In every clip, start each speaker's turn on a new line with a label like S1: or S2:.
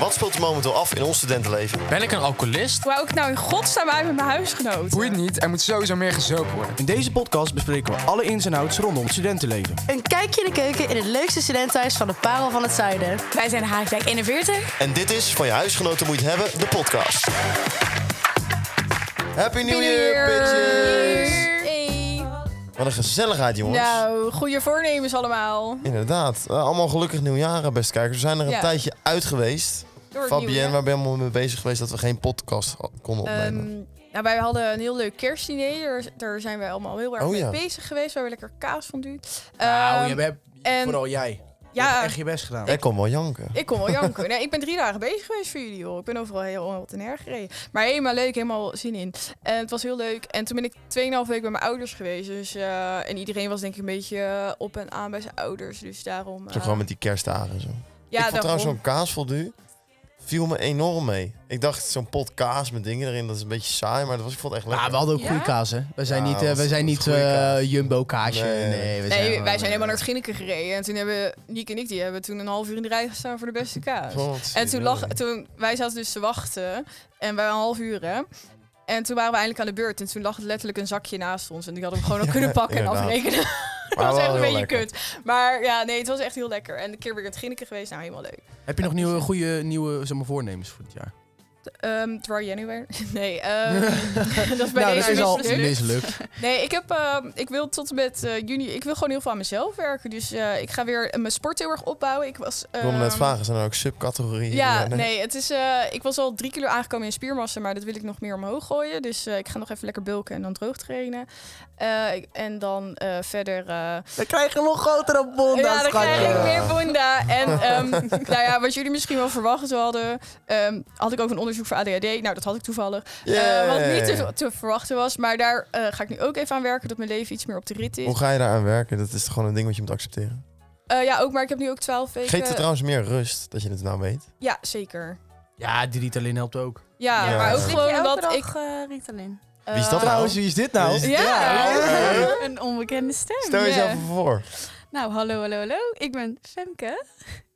S1: Wat speelt er momenteel af in ons studentenleven?
S2: Ben ik een alcoholist?
S3: Wou ik nou in godsnaam uit met mijn huisgenoot?
S4: Boeit niet, er moet sowieso meer gezopen worden.
S5: In deze podcast bespreken we alle ins en outs rondom het studentenleven.
S6: Een kijkje in de keuken in het leukste studentenhuis van de Parel van het Zuiden.
S3: Wij zijn Haagdijk 41.
S1: En dit is Van je huisgenoten moet je het hebben, de podcast. Happy New Year, bitches!
S3: Hey.
S1: Wat een gezelligheid, jongens.
S3: Nou, goede voornemens allemaal.
S1: Inderdaad. Eh, allemaal gelukkig nieuwjaren, beste kijkers. We zijn er een
S3: Ja.
S1: tijdje uit geweest.
S3: Door het nieuwe
S1: Fabienne,
S3: jaar.
S1: waar ben je allemaal mee bezig geweest dat we geen podcast ha- konden opnemen?
S3: Ehm, nou, wij hadden een heel leuk kerstdiner. Daar, daar zijn we allemaal heel erg
S1: Oh,
S3: mee
S1: ja.
S3: bezig geweest. We hebben lekker kaas fondue.
S5: Nou,
S3: Ehm,
S5: je hebt,
S3: en-
S5: vooral jij. Je hebt
S3: ja,
S5: echt je best gedaan.
S1: Jij kon wel janken.
S3: ik kon wel janken. Nee, ik ben drie dagen bezig geweest voor jullie, hoor. Ik ben overal heel heel wat en erg gereden. Maar helemaal leuk, helemaal zin in. En het was heel leuk. En toen ben ik 2,5 week bij mijn ouders geweest. Dus, eh, en iedereen was denk ik een beetje eh, op en aan bij zijn ouders. Dus daarom...
S1: Zo
S3: eh,
S1: gewoon met die kerstdagen en zo.
S3: ja,
S1: ik vond trouwens
S3: daarom.
S1: zo'n kaasvoldu viel me enorm mee. Ik dacht zo'n pot kaas met dingen erin, dat is een beetje saai, maar dat was, ik vond het echt
S2: Ja,
S1: lekker.
S2: we hadden ook
S3: Ja?
S2: goede kaas, hè? We zijn
S1: Ja,
S2: niet, eh,
S1: dat
S2: we
S1: is-
S2: zijn
S1: dat is
S2: niet
S1: goede
S2: eh,
S1: kaas.
S2: jumbo kaasje.
S1: Nee.
S2: Nee, we zijn
S3: Nee,
S2: gewoon,
S3: wij zijn
S2: eh,
S3: helemaal naar het Ginneken gereden. En toen hebben Niek en ik, die hebben toen een half uur in de rij gestaan voor de beste kaas.
S1: God,
S3: En toen lag, toen, wij zaten dus te wachten. En wij een half uur, hè. En toen waren we eindelijk aan de beurt. En toen lag letterlijk een zakje naast ons. En die hadden we gewoon al kunnen pakken en
S1: inderdaad.
S3: afrekenen. dat
S1: Maar
S3: was
S1: wel
S3: echt een
S1: heel
S3: beetje
S1: lekker.
S3: kut. Maar ja, nee, het was echt heel lekker. En een keer weer in het Ginneken geweest. Nou, helemaal leuk.
S5: Heb je nog nieuwe, goede nieuwe zeg maar, voornemens voor dit jaar?
S3: Ehm Dry January. Nee, ehm, dat is bij
S2: nou,
S3: deze
S2: dat is al
S3: mislukt.
S2: mislukt.
S3: Nee, ik, heb, eh, ik wil tot en met eh, juni... Ik wil gewoon heel veel aan mezelf werken. Dus eh, ik ga weer eh, mijn sport heel erg opbouwen. Ik was...
S1: Ik wilde net
S3: ehm,
S1: vragen, zijn er ook subcategorieën?
S3: Ja, nee, het is, eh, ik was al drie kilo aangekomen in spiermassa, maar dat wil ik nog meer omhoog gooien. Dus eh, ik ga nog even lekker bulken en dan droog trainen. Eh, ik- en dan eh, verder... eh,
S5: Dan krijg je nog grotere bonda's,
S3: ja, dan krijg ik
S1: schatje.
S3: meer bunda. En ehm, nou ja, wat jullie misschien wel verwacht hadden, ehm, had ik ook een onderzoek voor ADHD. Nou, dat had ik toevallig. Eh,
S1: Yeah.
S3: wat niet te, te verwachten was, maar daar eh, ga ik nu ook even aan werken, dat mijn leven iets meer op de rit is.
S1: Hoe ga je daaraan werken? Dat is toch gewoon een ding wat je moet accepteren.
S3: Eh, ja, ook, maar ik heb nu ook 12 weken...
S1: Geeft het trouwens meer rust, dat je het nou weet?
S3: Ja, zeker.
S5: Ja, die Ritalin helpt ook.
S3: Ja,
S1: Ja.
S3: maar ook
S1: Slik
S3: gewoon omdat ik...
S6: Ritalin.
S3: eh,
S1: Wie is dat nou?
S5: Trouwens, wie is dit nou?
S1: Wie is
S3: Ja,
S1: Hey.
S6: Eh, Een onbekende stem.
S1: Oh, Stel
S3: Ja.
S1: jezelf even voor.
S6: Nou, hallo, hallo, hallo. Ik ben Femke.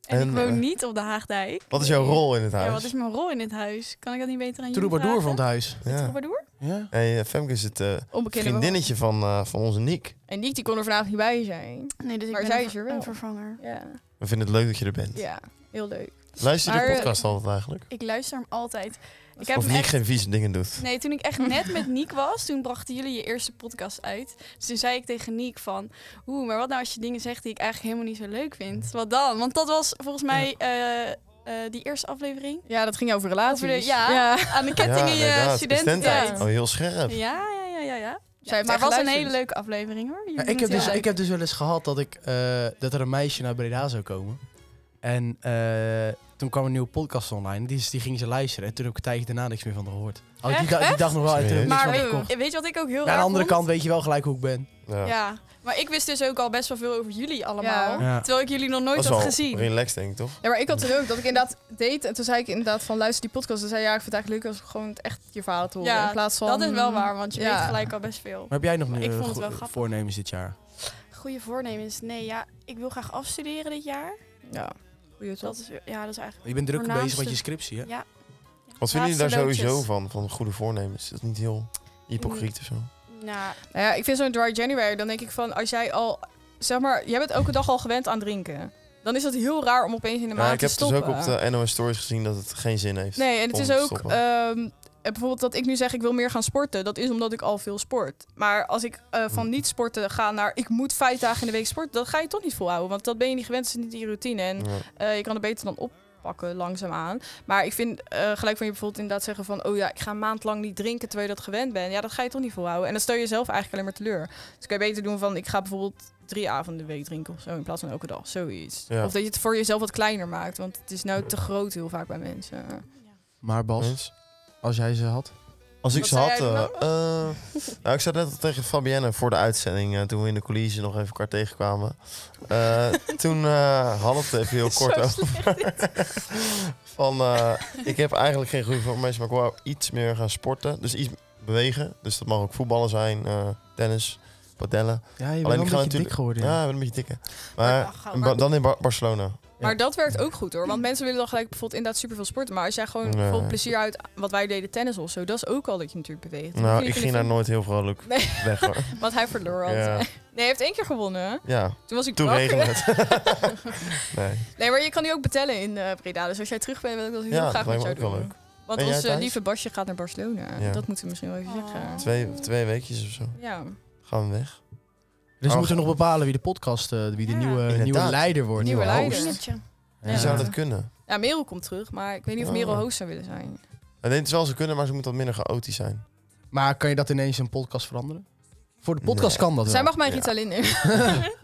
S6: En,
S1: En,
S6: ik
S1: eh,
S6: woon niet op de Haagdijk.
S1: Wat is jouw rol in het huis?
S6: Ja, wat is mijn rol in dit huis? Kan ik dat niet beter aan jullie
S5: Troubadour
S6: vragen?
S5: van het huis.
S1: Ja.
S6: Troubadour?
S5: Ja.
S1: Hey, eh, Femke is het eh,
S3: Onbekende
S1: vriendinnetje van, eh, van onze Niek.
S3: En Niek die kon er vanavond niet bij zijn.
S6: Nee, dus ik
S3: Maar
S6: ben
S3: zij
S6: een,
S3: is
S6: ver-
S3: er wel.
S6: een vervanger.
S3: Ja,
S1: We vinden het leuk dat je er bent.
S3: ja heel leuk.
S1: Luister je de
S3: Maar,
S1: podcast altijd eigenlijk?
S6: Ik luister hem altijd. Ik heb
S1: Of
S6: hem
S1: Niek
S6: echt...
S1: geen vieze dingen doet?
S6: Nee, toen ik echt net met Niek was, toen brachten jullie je eerste podcast uit. Dus toen zei ik tegen Niek van, oeh, maar wat nou als je dingen zegt die ik eigenlijk helemaal niet zo leuk vind? Wat dan? Want dat was volgens mij eh, eh, die eerste aflevering.
S3: Ja, dat ging over relaties.
S6: Over de- ja, aan de ketting in je
S1: inderdaad.
S6: studententijd.
S1: Studententijd. Oh, heel scherp.
S6: Ja, ja, ja, ja. dus. ja.
S3: Zij heeft
S6: maar
S3: echt
S6: was een hele
S3: geluisterd.
S6: leuke aflevering hoor. Jullie
S5: Ja, ik,
S6: moeten
S5: heb dus,
S6: het
S5: ik heb dus wel eens gehad dat, ik, eh, dat er een meisje naar Breda zou komen. En eh, toen kwam een nieuwe podcast online. Die, is- die ging ze luisteren. En toen heb ik een tijdje daarna niks meer van haar gehoord. Had ik die,
S6: Echt?
S5: dag- die dag nog wel. En toen heb ik niks
S6: Maar
S5: van haar
S6: weet,
S5: gekocht.
S6: weet je wat ik ook heel
S5: Maar aan de
S6: raar
S5: andere
S6: vond?
S5: kant weet je wel gelijk hoe ik ben.
S1: Ja.
S6: Ja, maar ik wist dus ook al best wel veel over jullie allemaal.
S5: Ja.
S6: Terwijl ik jullie nog
S1: Dat
S6: nooit
S1: is
S6: had
S1: wel
S6: gezien.
S1: relaxed, denk ik, toch?
S3: Ja, maar ik had toen ook dat ik inderdaad deed. En toen zei ik inderdaad van luister die podcast. Toen zei ja, ik vind het eigenlijk leuk als ik gewoon echt je verhaal te horen.
S6: Ja,
S3: in plaats van,
S6: Dat is wel waar, want je
S3: Ja.
S6: weet gelijk al best veel.
S5: Maar heb jij nog
S6: ik
S5: nieuwe
S6: vond het
S5: go-
S6: wel grappig.
S5: voornemens dit jaar?
S6: Goede voornemens. Nee, ja, ik wil graag afstuderen dit jaar.
S3: Ja, goeie
S6: Dat
S3: top.
S6: is, ja, dat is eigenlijk...
S5: Je bent druk
S6: Voornaamste-
S5: bezig met je scriptie, hè?
S6: Ja.
S1: Wat vinden jullie daar
S6: Laatste
S1: sowieso
S6: loodjes.
S1: van? Van goede voornemens? Is dat niet heel
S3: Mm.
S1: hypocriet of zo?
S6: Nou,
S3: Nou ja, ik vind zo'n dry January, dan denk ik van als jij al, zeg maar, jij bent elke dag al gewend aan drinken. Dan is dat heel raar om opeens in de maand
S1: Ja, ik
S3: te
S1: heb dus
S3: stoppen.
S1: ook op de NOS Stories gezien dat het geen zin heeft.
S3: eh. Nee, en het
S1: om
S3: is
S1: te
S3: ook
S1: stoppen.
S3: ehm, eh, bijvoorbeeld dat ik nu zeg ik wil meer gaan sporten. Dat is omdat ik al veel sport. Maar als ik eh, van
S1: Hm.
S3: niet sporten ga naar ik moet vijf dagen in de week sporten, dat ga je toch niet volhouden. Want dat ben je niet gewend, dat is niet die routine. En
S1: Ja.
S3: eh, je kan het beter dan oppakken langzaamaan. Maar ik vind eh, gelijk van je bijvoorbeeld inderdaad zeggen van oh ja, ik ga een maand lang niet drinken terwijl je dat gewend bent. Ja, dat ga je toch niet volhouden. En dan stel je jezelf eigenlijk alleen maar teleur. Dus kan je beter doen van ik ga bijvoorbeeld drie avonden de week drinken of zo in plaats van elke dag, zoiets.
S1: Ja.
S3: Of dat je het voor jezelf wat kleiner maakt, want het is nou te groot heel vaak bij mensen.
S5: Maar Bas,
S1: Eens?
S5: als jij ze had...
S1: Als ik
S3: Wat
S1: ze
S3: zei
S1: had...
S3: jij
S1: eh,
S3: nou?
S1: eh, nou, ik zei net al tegen Fabienne voor de uitzending, eh, toen we in de coulissen nog even elkaar tegenkwamen. Eh, toen eh had het even heel kort over. Van, eh, ik heb eigenlijk geen goede voornemens, maar ik wou iets meer gaan sporten. Dus iets bewegen. Dus dat mag ook voetballen zijn, eh, tennis, padellen.
S5: Ja, je
S1: Alleen
S5: bent wel
S1: ik
S5: een
S1: ga
S5: beetje
S1: natuurlijk-
S5: dik geworden.
S1: Ja,
S5: ja.
S1: ik ben een beetje dikke. Maar
S6: nou, gauw,
S1: in Ba-
S6: maar-
S1: dan in Bar- Barcelona.
S3: Maar dat werkt ook goed hoor. Want mensen willen dan gelijk bijvoorbeeld inderdaad superveel sporten. Maar als jij gewoon
S1: Nee.
S3: bijvoorbeeld plezier uit wat wij deden, tennis of zo, dat is ook al dat je natuurlijk beweegt. Dat
S1: Nou,
S3: vind
S1: ik ging
S3: niet
S1: daar
S3: van-
S1: nooit heel vrolijk
S3: Nee.
S1: weg hoor.
S3: Want hij verloor altijd.
S1: Ja,
S3: Nee, hij heeft één keer gewonnen. hè?
S1: ja.
S3: Toen was ik
S1: toen
S3: wakker.
S1: regende het. nee.
S3: Nee, maar je kan nu ook betellen in eh Breda. Dus als jij terug bent, wil ik dat heel
S1: Ja,
S3: graag
S1: dat
S3: met
S1: lijkt me
S3: jou
S1: ook
S3: doen.
S1: wel leuk.
S3: Want
S1: Ben jij
S3: ons eh,
S1: thuis?
S3: lieve Basje gaat naar Barcelona.
S1: Ja.
S3: Dat moeten we misschien wel even zeggen.
S1: Twee, twee weekjes of zo.
S3: Ja.
S1: Gaan we weg.
S5: Dus
S1: Oh,
S5: we moeten nog bepalen wie de podcast, eh, wie de
S6: Ja.
S5: nieuwe, nieuwe
S1: Inderdaad.
S5: leider wordt.
S3: Nieuwe
S5: host.
S3: leider.
S6: Dingetje.
S1: Wie
S5: Ja.
S1: zou dat kunnen?
S3: ja, Merel komt terug, maar ik weet niet of Merel
S1: Oh.
S3: host zou willen zijn.
S1: Ik denk het wel ze kunnen, maar ze moet wat minder chaotisch zijn.
S5: Maar kan je dat ineens een podcast veranderen? Voor de podcast
S1: Nee.
S5: kan dat
S3: Zij
S5: wel.
S3: mag mijn
S1: Oh, Ja.
S3: Ritalin nemen.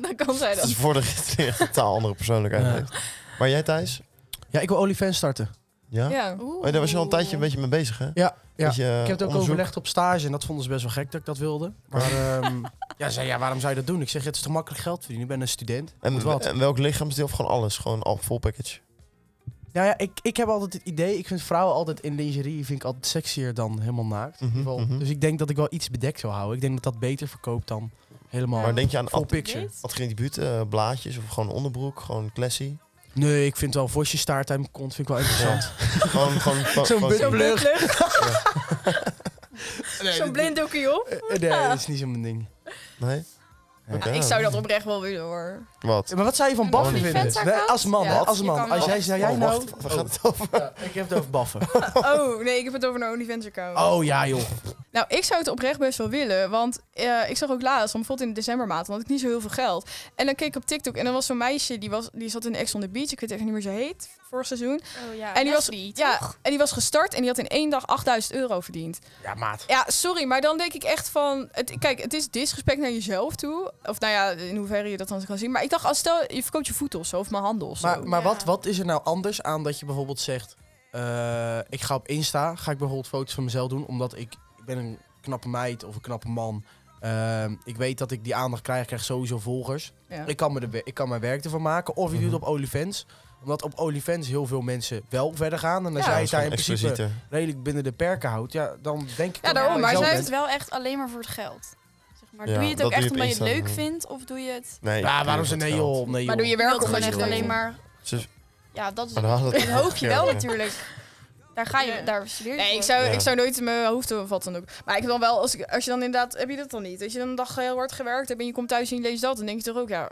S3: dan kan zij
S1: Dat
S3: dat.
S1: is voor de een totaal andere persoonlijkheid
S5: Ja.
S1: heeft. Maar jij Thijs?
S5: Ja, ik wil OnlyFans starten.
S1: Ja?
S3: Ja.
S1: Oh, daar was je al een tijdje een beetje mee bezig, hè?
S5: ja.
S1: Beetje, eh,
S5: Ik heb het ook
S1: onderzoek.
S5: overlegd op stage en dat vonden ze best wel gek dat ik dat wilde. Maar ehm, ja, zei, ja, waarom zou je dat doen? Ik zeg, het is toch makkelijk geld verdienen? Ik ben een student.
S1: En,
S5: Moet wat.
S1: en welk lichaamsdeel of gewoon alles? Gewoon al full package.
S5: Nou ja, ik, ik heb altijd het idee, ik vind vrouwen altijd in lingerie vind ik altijd sexier dan helemaal naakt.
S1: Mhm,
S5: Wel,
S1: mhm.
S5: Dus ik denk dat ik wel iets bedekt zou houden. Ik denk dat dat beter verkoopt dan helemaal
S1: Maar denk je aan
S5: full
S1: ad-
S5: picture.
S6: Weet?
S1: attribuut, eh blaadjes of gewoon onderbroek, gewoon classy?
S5: Nee, ik vind wel vosje staart uit mijn kont vind ik wel interessant.
S1: gewoon, gewoon, gewoon-
S5: Zo'n
S1: gewoon-
S5: butler. Blug.
S3: Blug.
S5: Nee,
S3: Zo'n
S5: dat-
S3: blinddoekje op.
S5: eh, eh, nee, dat is niet zo mijn ding.
S1: Nee?
S5: Nee.
S1: Oké.
S3: Ik zou dat oprecht wel willen hoor.
S1: Wat?
S5: Maar wat zou je van
S1: Een
S5: baffen vinden?
S6: OnlyFans
S5: Nee,
S6: account?
S5: als man,
S3: Ja,
S5: hè, als
S3: je
S5: man.
S3: kan
S5: Als
S3: wel.
S5: jij zei, jij
S1: Oh,
S5: nou...
S1: wacht, waar gaat het over?
S5: Ja, ik heb het over baffen.
S3: Oh, nee, ik heb het over een OnlyFans-account.
S5: Oh ja, joh.
S3: Nou, ik zou het oprecht best wel willen. Want eh, ik zag ook laatst, want bijvoorbeeld in de decembermaand, want ik niet zo heel veel geld. En dan keek ik op TikTok en dan was zo'n meisje, die, was, die zat in Ex on the Beach. Ik weet echt niet meer hoe ze heet, vorig seizoen.
S6: Oh ja,
S3: En die was-
S6: Leslie,
S3: Ja,
S6: toch?
S3: en die was gestart en die had in één dag 8000 euro verdiend.
S5: Ja, maat.
S3: Ja, sorry, maar dan denk ik echt van... Het, kijk, het is disrespect naar jezelf toe. Of nou ja, in hoeverre je dat dan kan zien. Maar ik dacht, als stel, je verkoopt je voeten of zo, of mijn handen of zo.
S5: Maar, maar
S6: Ja.
S5: wat, wat is er nou anders aan dat je bijvoorbeeld zegt... eh, ik ga op Insta, ga ik bijvoorbeeld foto's van mezelf doen... omdat ik, ik ben een knappe meid of een knappe man. Ehm, ik weet dat ik die aandacht krijg, ik krijg sowieso volgers.
S3: Ja.
S5: Ik, kan me de, we- ik kan mijn werk ervan maken. Of je doet het
S1: Mhm.
S5: op OnlyFans. Omdat op OnlyFans heel veel mensen wel verder gaan. En als
S3: Ja,
S5: jij
S1: dat
S5: het
S1: is
S5: daar in
S1: gewoon
S5: principe
S1: explicieter.
S5: redelijk binnen de perken houdt... ja, dan denk ik
S3: Ja,
S5: dat
S3: daarom,
S5: je
S3: maar
S5: zelf
S3: zij
S6: zij
S5: bent.
S6: het wel echt alleen maar voor het geld. Zeg maar,
S1: Ja,
S6: doe je het
S1: dat
S6: ook
S1: doe je
S6: echt
S1: op
S6: omdat je het
S1: Insta,
S6: leuk
S1: ja.
S6: vindt? Of doe je het...
S1: Nee,
S5: Ja, waarom ze
S1: ze
S5: nee joh, nee joh.
S3: maar doe je
S6: Je
S3: werk
S6: wilt
S3: om
S6: gewoon
S1: omdat je het
S6: echt alleen
S1: leuk
S6: maar...
S1: Ze-
S6: Ja, dat is
S1: Maar dan haal het
S6: dat hoop je wel
S1: Ja.
S6: natuurlijk. Daar ga je,
S3: Ja.
S6: daar studeer je
S3: Nee, ik
S6: voor.
S3: zou,
S1: Ja.
S3: ik zou nooit in mijn hoofd vatten ook. Maar ik heb dan wel, als, ik, als je dan inderdaad, heb je dat dan niet? Dat je dan een dag heel hard gewerkt hebt en je komt thuis en je leest dat, dan denk je toch ook, ja.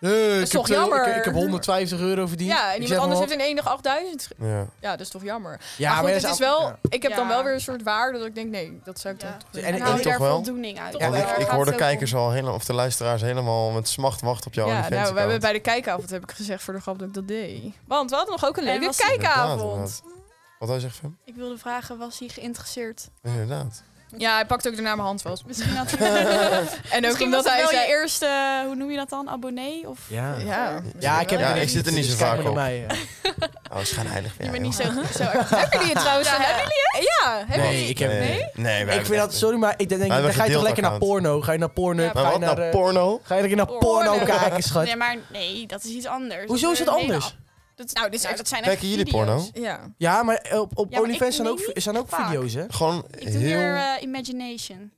S5: Eh, ik
S3: is
S5: heb
S3: toch
S5: twee- ik-
S3: jammer?
S5: Ik, heb 150 euro verdiend.
S3: Ja,
S5: Ik
S3: en
S5: zeg
S3: iemand
S5: maar
S3: anders
S5: wat.
S3: heeft in één dag 8000. ge-
S1: Ja.
S3: Ja, dat is toch jammer.
S5: Ja,
S3: maar goed,
S5: dat
S3: het is wel,
S5: ja.
S3: ik heb dan
S6: Ja.
S3: wel weer een soort waarde dat ik denk, nee, dat zou ik
S6: Ja.
S3: dan toch
S5: En-
S3: niet
S6: En
S5: en-
S3: doen. Nou,
S6: haal je
S1: ik
S6: daar
S1: toch wel?
S6: voldoening uit.
S3: Toch
S1: En
S3: wel.
S1: ik,
S6: Daar
S1: ik
S6: gaat
S1: hoor de
S6: het ook
S1: kijkers
S6: om.
S1: al helemaal, of de luisteraars helemaal met smacht wachten op jouw
S3: Ja, nou, we hebben
S1: OnlyFans-account.
S3: bij de kijkavond heb ik gezegd voor de grap dat ik dat deed. Want we hadden nog ook een
S6: En
S3: leuke
S6: was-
S1: Inderdaad,
S3: kijkavond.
S1: inderdaad. Wat hij zegt, Fem?
S6: Ik wilde vragen, was hij geïnteresseerd?
S1: Inderdaad.
S3: Ja, hij pakte ook daarna mijn hand vast.
S6: Misschien had
S3: En ook
S6: Misschien
S3: omdat
S6: was het
S3: hij
S6: wel
S3: zei...
S6: je eerste, eh, hoe noem je dat dan, abonnee? Of
S5: Ja.
S3: Ja,
S5: Ja, ik, heb
S1: Ja,
S5: het
S1: ik zit er niet
S5: dus
S1: zo
S5: kijk
S1: vaak
S5: maar naar
S1: op.
S5: Mij, eh.
S1: Oh, schijnheilig. Ja,
S6: je bent niet zo,
S1: joh.
S6: zo erg.
S3: Hebben jullie het trouwens?
S6: Ja.
S3: Hebben jullie het? Ja, hebben
S5: Nee,
S3: jullie-
S5: ik heb het
S1: Nee?
S5: niet.
S1: Nee, wij hebben
S5: Ik
S1: het
S5: vind dat,
S1: echt
S5: sorry, maar ik denk,
S1: hebben
S5: dan ga je toch
S1: gedeeld
S5: lekker naar
S1: account.
S5: porno? Ga je naar porno?
S6: Ja,
S1: Maar
S5: ga, je
S1: wat
S5: naar,
S1: nou,
S5: eh,
S1: porno?
S5: ga je lekker naar
S6: Porno.
S5: porno kijken, schat?
S6: Nee, maar nee, dat is iets anders.
S5: Hoezo is het
S6: Dat is een
S5: anders?
S6: hele- Dat,
S3: Nou, dit is
S6: nou,
S3: echt-
S6: dat zijn
S1: Kijken
S6: echt
S1: jullie
S6: video's.
S1: porno?
S3: Ja.
S5: Ja, maar eh, op, op
S6: Ja, maar ik
S5: OnlyFans zijn
S6: nee,
S5: ook,
S6: niet
S5: er zijn ook
S6: vaak.
S5: video's, hè?
S1: Gewoon
S6: Ik doe meer
S1: heel...
S6: eh, imagination.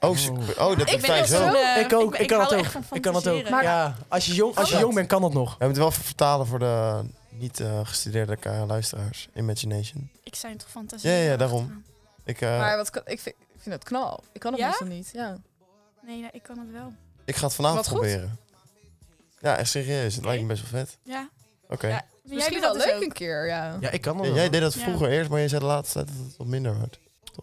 S1: Oh, zo- oh, dat
S3: Ik
S1: heb
S3: vind
S1: jij
S3: dat
S1: zo.
S3: zo-
S1: Je
S6: Eh,
S5: ik ook, ik, kan
S6: hou
S5: dat
S6: er echt
S5: ook.
S6: van
S5: Ik kan dat ook.
S6: fantaseren.
S5: Ja, als je jong, als je
S1: Oh,
S5: jong bent, kan dat nog.
S1: moet het wel even vertalen voor de niet-gestudeerde luisteraars. Imagination.
S6: Ik zijn toch fantasie.
S1: Ja, ja, daarom. Ik, eh,
S3: Maar wat, kan- ik, vind, ik vind dat knal. Ik kan het
S6: Ja?
S3: meestal niet. Ja.
S6: Nee, ja, ik kan het wel.
S1: ik ga het vanavond
S3: Wat goed.
S1: proberen. Ja, echt serieus. Het lijkt me best wel vet.
S6: Ja.
S1: Oké.
S6: Ja,
S3: Misschien
S6: doet
S3: wel
S6: dat dus
S3: leuk
S6: ook.
S3: een keer, ja.
S5: Ja, ik kan dat
S1: Ja,
S5: nog.
S1: jij deed dat
S6: Ja.
S1: vroeger eerst, maar je zei de laatste tijd dat het wat minder wordt.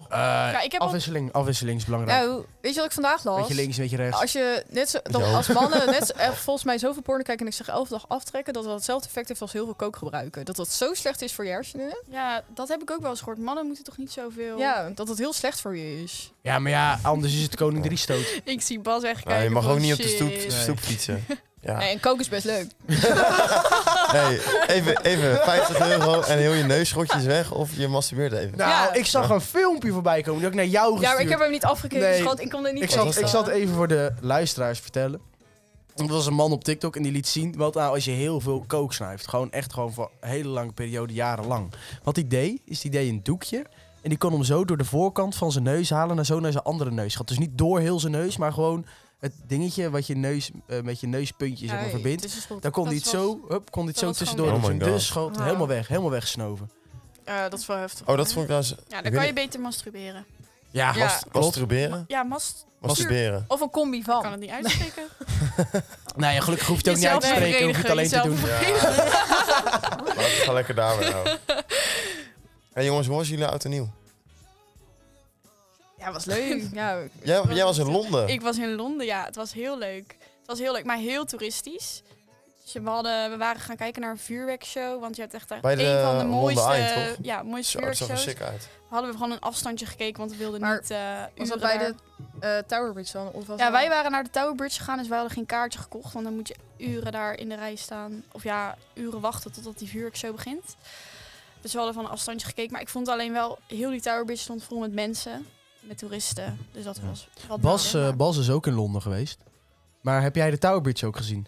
S5: Eh,
S6: ik heb ook-
S5: afwisseling, afwisseling is belangrijk.
S3: Nou, weet je wat ik vandaag las?
S5: beetje links, beetje rechts.
S3: Als je net zo, dan
S1: Zo.
S3: als mannen net zo, eh, volgens mij zoveel porno kijken en ik zeg elf dag aftrekken, dat dat hetzelfde effect heeft als heel veel kook gebruiken. Dat dat zo slecht is voor je hersenen.
S6: Ja, dat heb ik ook wel eens gehoord. Mannen moeten toch niet zoveel...
S3: Ja, dat het heel slecht voor je is.
S5: Ja, maar ja, anders is het koning 3 stoot.
S6: Ik zie Bas echt
S1: Nou,
S6: kijken
S1: je mag
S6: van,
S1: ook niet op de stoep,
S6: shit.
S1: stoep fietsen. Ja.
S3: Nee, en kook is best leuk.
S1: Nee, even, even 50 euro en heel je neusschotje is weg of je masturbeert even.
S5: Nou,
S3: Ja.
S5: ik zag een filmpje voorbij komen die had ik naar jou gestuurd.
S3: Ja, maar ik heb hem niet afgekeken,
S5: Nee.
S3: dus schat, ik kon er niet
S5: Ik
S3: van
S5: zat, ik
S3: verstaan.
S5: zat even voor de luisteraars vertellen. Er was een man op TikTok en die liet zien wat nou als je heel veel kook snuift. Gewoon echt gewoon voor een hele lange periode, jarenlang. Wat hij deed, is die deed een doekje. En die kon hem zo door de voorkant van zijn neus halen naar zo naar zijn andere neus. Gaat dus niet door heel zijn neus, maar gewoon... het dingetje wat je neus eh, met je neuspuntje zeg maar,
S3: dus
S5: verbindt. Dan kon
S6: Dat
S5: dit
S6: was-
S5: zo, hup, kon dit zo
S6: dat was
S5: tussendoor.
S6: gewoon
S1: weg.
S5: doen.
S1: Oh my
S5: dus
S1: God.
S5: schoot
S3: Ja.
S5: helemaal weg, helemaal weggesnoven.
S3: dat is wel heftig.
S1: Oh, dat vond ik trouwens...
S6: Ja,
S1: Ik
S6: dan kan
S1: weet
S6: je beter masturberen.
S5: Ja,
S3: Ja.
S5: was, klopt.
S1: Masturberen?
S6: Ja, mast...
S1: Masturberen.
S3: Of een combi
S6: Ik
S3: van.
S6: kan het niet uitspreken.
S5: Nou ja, gelukkig hoef je het ook niet uit te
S6: Jezelf
S5: spreken. Hoef je het alleen te doen.
S6: verenigen,
S1: Ja. Maar Nou, ik ga lekker daarbij houden. Hey jongens, hoe was jullie oud en nieuw?
S3: Ja, was leuk. Ja, ik-
S1: Jij, jij was in Londen.
S6: Ik was in Londen, ja. Het was heel leuk. Het was heel leuk, maar heel toeristisch. Dus we, hadden, we waren gaan kijken naar een vuurwerkshow. Want je hebt echt
S1: Bij de
S6: een van de
S1: Londen
S6: mooiste,
S1: Eye, toch?
S6: ja, mooiste
S1: Zo, dat zag er
S6: vuurwerkshows.
S1: sick uit.
S6: Hadden we gewoon een afstandje gekeken, want we wilden
S3: Maar
S6: niet eh
S3: was dat
S6: uren
S3: bij
S6: daar-
S3: de eh, Tower Bridge dan? Of was
S6: Ja,
S3: dat-
S6: wij waren naar de Tower Bridge gegaan, dus wij hadden geen kaartje gekocht. Want dan moet je uren daar in de rij staan. Of ja, uren wachten totdat die vuurwerkshow begint. Dus we hadden van een afstandje gekeken. Maar ik vond alleen wel, heel die Tower Bridge stond vol met mensen. Met toeristen. Dus dat
S1: Ja.
S6: was wat
S5: Bas,
S6: minder.
S5: eh, Bas is ook in Londen geweest. Maar heb jij de Tower Bridge ook gezien?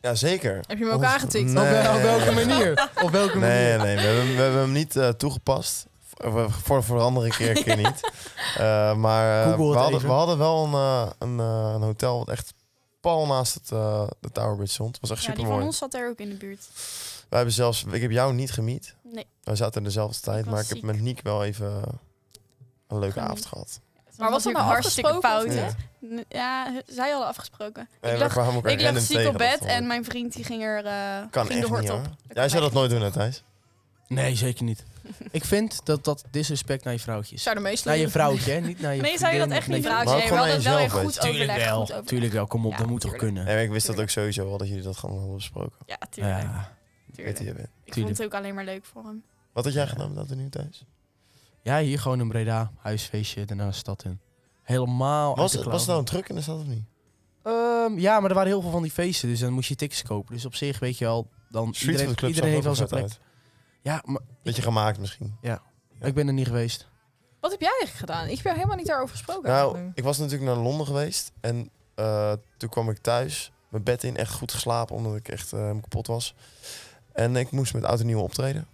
S1: Ja, zeker.
S3: Heb je hem ook aangetikt?
S1: Nee.
S5: Op, wel- op
S3: Oh,
S5: welke manier? Op welke
S1: Nee,
S5: manier?
S1: nee, we hebben, hem- we hebben hem niet eh, toegepast. Voor, voor, voor de andere keer, een keer niet. Eh, maar eh,
S5: Google het
S1: we, hadden,
S5: even.
S1: we hadden wel een, eh, een, eh, een hotel wat echt pal naast het, eh, de Tower Bridge stond. Het was echt
S6: ja, die
S1: super mooi.
S6: van ons zat er ook in de buurt.
S1: We hebben zelfs, ik heb jou niet gemiet.
S6: Nee.
S1: We zaten in dezelfde tijd,
S6: was
S1: maar ik heb
S6: ziek.
S1: met Niek wel even een leuke
S6: Geniet.
S1: avond gehad.
S3: Maar was dat
S6: natuurlijk
S3: nou
S6: hartstikke
S3: afgesproken of
S6: fout, hè?
S1: Ja.
S6: N- Ja, h- zij hadden afgesproken.
S1: Nee,
S6: Oh, ik
S1: we
S6: lag,
S1: kwamen elkaar
S6: ik lag
S1: random
S6: ziek
S1: tegen,
S6: op
S1: dat
S6: bed
S1: vond ik-
S6: en mijn vriend die ging er eh,
S1: Kan
S6: ging de
S1: echt
S6: hort
S1: niet,
S6: op.
S1: hoor.
S6: Dat
S1: Jij
S6: kan
S1: zou dat
S6: echt
S1: nooit doen, hè, Thijs?
S5: Nee, zeker niet. Ik vind dat dat disrespect naar je vrouwtje is.
S3: Zou de meest
S5: Naar Nou, je
S3: leuke-
S5: vrouwtje, hè? niet naar je
S6: Nee, zou je dat
S5: vriendin
S6: echt niet
S5: of
S3: Maar
S6: vragen?
S3: ook
S6: Nee, we
S1: gewoon
S6: hadden het wel
S1: aan
S6: in
S1: jezelf
S6: goed
S5: Tuurlijk
S6: overleg.
S5: wel,
S6: goed overleg.
S5: tuurlijk wel. Kom op,
S6: Ja,
S5: dat moet toch
S6: tuurlijk.
S5: kunnen.
S1: Nee, maar ik wist dat ook sowieso wel dat jullie dat gewoon hadden besproken.
S6: Ja, tuurlijk.
S5: Ja.
S1: Ik weet
S6: tuurlijk.
S1: wie je bent.
S6: Ik vond het ook alleen maar leuk voor hem.
S1: Wat had jij
S5: Ja.
S1: gedaan met dat er nu thuis?
S5: ja, hier gewoon in Breda, huisfeestje, daarna de stad in. Helemaal Oh, uit
S1: Was,
S5: de
S1: het- was
S5: klauwen.
S1: het nou een truc in de stad of niet?
S5: Ehm, ja, maar er waren heel veel van die feesten, dus dan moest je tickets kopen. Dus op zich weet je wel, dan
S1: Street
S5: iedereen,
S1: Food Club
S5: iedereen heeft wel
S1: zag
S5: zijn
S1: er
S5: plek.
S1: vet uit.
S5: Ja, maar
S1: Beetje gemaakt misschien.
S5: ik ben er niet geweest.
S3: Wat heb jij eigenlijk gedaan? Ik ben helemaal niet daarover gesproken.
S1: Nou,
S3: eigenlijk.
S1: ik was natuurlijk naar Londen geweest. En eh, toen kwam ik thuis. Mijn bed in, echt goed geslapen. Omdat ik echt eh, helemaal kapot was. En ik moest met oud en nieuw optreden.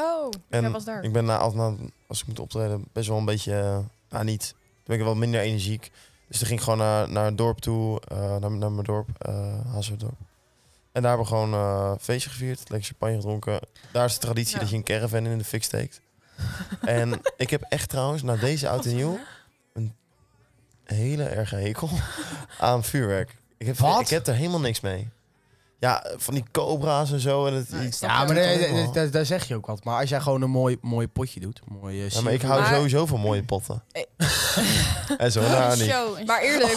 S3: Oh,
S1: En
S3: jij was daar.
S1: Ik ben na, altijd na- als ik moet optreden, best wel een beetje... eh, nou, niet. Toen ben ik wel minder energiek. Dus toen ging ik gewoon naar, naar het dorp toe. eh, naar, naar mijn dorp, eh Hazardorp. En daar hebben we gewoon eh, een feestje gevierd. Lekker champagne gedronken. Daar is de traditie
S3: Ja.
S1: dat je een caravan in de fik steekt. en ik heb echt trouwens, na deze oud en nieuw... hele erg hekel aan vuurwerk. Ik heb,
S5: Wat?
S1: ik heb er helemaal niks mee. Ja, van die cobra's en zo. En het,
S3: Nee, ik snap
S5: Ja, maar
S1: dat-
S5: nee,
S1: dat-
S5: daar, daar- daar zeg je ook wat. Maar als jij gewoon een mooi, mooi potje doet, mooi eh,
S1: Ja, maar ik
S5: sier-
S1: hou
S3: Maar-
S1: sowieso van mooie potten.
S3: Eh.
S1: en zo,
S6: Een
S1: nou niet.
S6: show. een
S3: Maar eerlijk,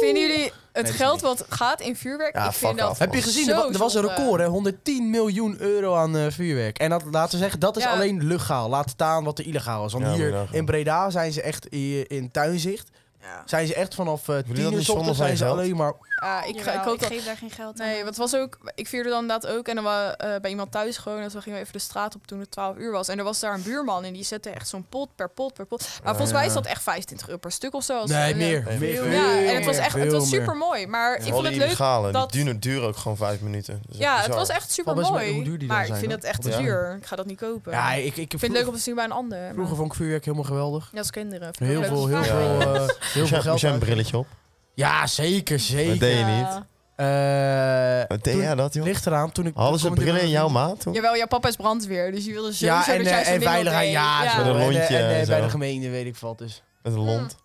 S3: vinden jullie het
S5: Oh. dat is
S3: geld
S5: niet.
S3: wat gaat in vuurwerk?
S1: Ja,
S3: ik vind
S1: fuck
S3: dat.
S1: af.
S5: Heb je gezien, er, wa-
S3: Zo
S5: er was een
S3: zonde.
S5: record, hè? 110 miljoen euro aan eh, vuurwerk. En dat, laten we zeggen, dat is
S3: Ja.
S5: alleen legaal. Laat staan wat er illegaal is. Want
S1: Ja, moet je
S5: hier
S1: nagaan.
S5: in Breda zijn ze echt i- in tuinzicht.
S3: Ja.
S5: Zijn ze echt vanaf eh
S1: je
S5: 10
S1: dat
S5: uur
S1: niet
S5: 's
S1: zonde
S5: ochtends
S1: van je
S5: zijn ze
S1: geld?
S5: alleen maar...
S3: Ja, ik, ga- ik hoop dat.
S6: geef daar geen geld
S3: Nee, wat was ook. Ik vierde dan inderdaad ook. En dan wa- eh, bij iemand thuis gewoon. En toen gingen we even de straat op toen het 12 uur was. En er was daar een buurman. En die zette echt zo'n pot per pot per pot. Maar volgens mij is dat echt 25 euro per stuk of zo. Als-
S5: Nee,
S3: en-
S5: meer.
S1: veel
S5: meer,
S1: meer.
S3: Ja, en
S5: veel
S3: het was echt. Het
S5: meer.
S3: was super mooi. Maar ik
S1: Al
S3: vond
S1: die
S3: het leuk.
S1: illegale,
S3: dat-
S1: die duren, duren ook gewoon vijf minuten. Dat is
S3: Ja, het
S1: bizar.
S3: was echt super
S5: Valt best mee hoe
S3: mooi.
S5: duur die dan
S3: Maar ik
S5: zijn,
S3: vind
S5: hoor.
S3: het echt te
S1: Ja.
S3: duur. Ik ga dat niet kopen.
S5: Ja, ik, ik,
S3: Ik vind het leuk om te zien bij een ander. maar-
S5: Vroeger vond ik vuurwerk helemaal geweldig.
S3: Ja, als kinderen. Vind ik
S5: Heel
S3: leuk om
S5: veel,
S3: te
S5: heel
S3: vragen.
S5: veel, eh, heel
S1: Moest jij-
S5: veel
S1: moest
S5: geld.
S1: jij een
S5: uit.
S1: brilletje op?
S5: Ja, zeker,
S1: Dat deed
S5: zeker.
S1: je
S3: Ja.
S1: niet.
S5: Eh
S1: Wat deed jij
S5: toen-
S1: dat, joh?
S5: Ligt eraan, toen ik...
S1: Hadden ze
S5: toen kwam ik
S1: brillen in jouw maat toen?
S3: Jawel, jouw papa is brandweer, dus je wilde sowieso
S5: Ja, en,
S3: dat jij
S5: eh,
S3: zo'n
S5: en
S3: ding al
S5: veiligheid,
S3: deed.
S5: ja. zo.
S1: Met een
S5: En, eh,
S1: lontje
S5: en, eh,
S1: en
S5: bij
S1: zo.
S5: de gemeente, weet ik wat. Dus.
S1: Met een lont.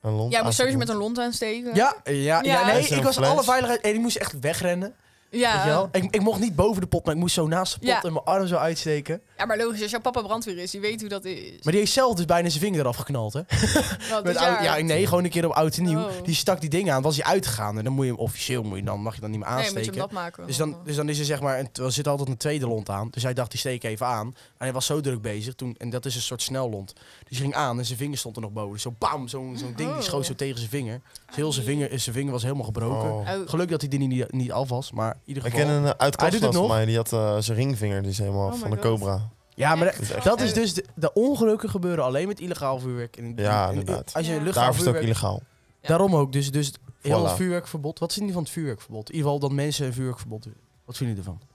S1: Een lont
S3: Jij
S1: aan-
S3: moest sowieso met een lont aansteken.
S5: Ja, ja, ja,
S3: Ja.
S5: nee,
S1: Is er
S5: ik
S1: een
S5: was
S1: fles?
S5: alle veiligheid... En ik moest echt wegrennen. Weet
S3: ja.
S5: je wel? Ik, ik mocht niet boven de pot, maar ik moest zo naast de pot
S3: Ah. Ja.
S5: en mijn arm zo uitsteken.
S3: Ja, maar logisch, als jouw papa brandweer is, die weet hoe dat is.
S5: Maar die heeft zelf dus bijna zijn vinger eraf geknald, hè?
S3: Wat,
S5: Met
S3: dit
S5: oud,
S3: jaar?
S5: ja, nee, gewoon een keer op oud en nieuw.
S3: Oh.
S5: Die stak die ding aan, was hij uitgegaan. En dan moet je hem officieel, moet je dan, mag je dan niet meer
S3: nee, moet je
S5: aansteken.
S3: hem dat maken.
S5: dus, dan, dus dan is er zeg maar, een, er zit altijd een tweede lont aan. Dus hij dacht, die steek even aan. En hij was zo druk bezig toen, en dat is een soort snellont. Dus hij ging aan en zijn vinger stond er nog boven. Dus zo bam, zo'n zo'n ding die schoot zo
S3: Oh.
S5: tegen zijn vinger. Dus heel zijn vinger, zijn vinger was helemaal gebroken.
S1: Oh.
S3: Oh.
S5: Geluk dat hij die niet, niet af was, maar in ieder
S1: Ik
S5: geval...
S1: ken een
S5: Hij doet het
S1: uitkast van
S5: nog.
S1: mij, die had eh, zijn ringvinger, die is helemaal
S3: Oh
S1: van
S3: my
S1: de
S3: God.
S1: cobra.
S5: Ja, maar
S1: dat is echt-
S5: Dat is dus de, de ongelukken gebeuren alleen met illegaal vuurwerk. En,
S1: Ja,
S5: en- en-
S1: inderdaad.
S5: Als je
S6: Ja.
S5: luchtvaartvuurwerk
S1: Daarvoor is het ook illegaal.
S3: Ja.
S5: Daarom ook. Dus, dus heel
S1: Voilà.
S5: vuurwerkverbod. Wat vinden jullie van het vuurwerkverbod? In ieder geval dat mensen een vuurwerkverbod willen. Wat vinden jullie ervan?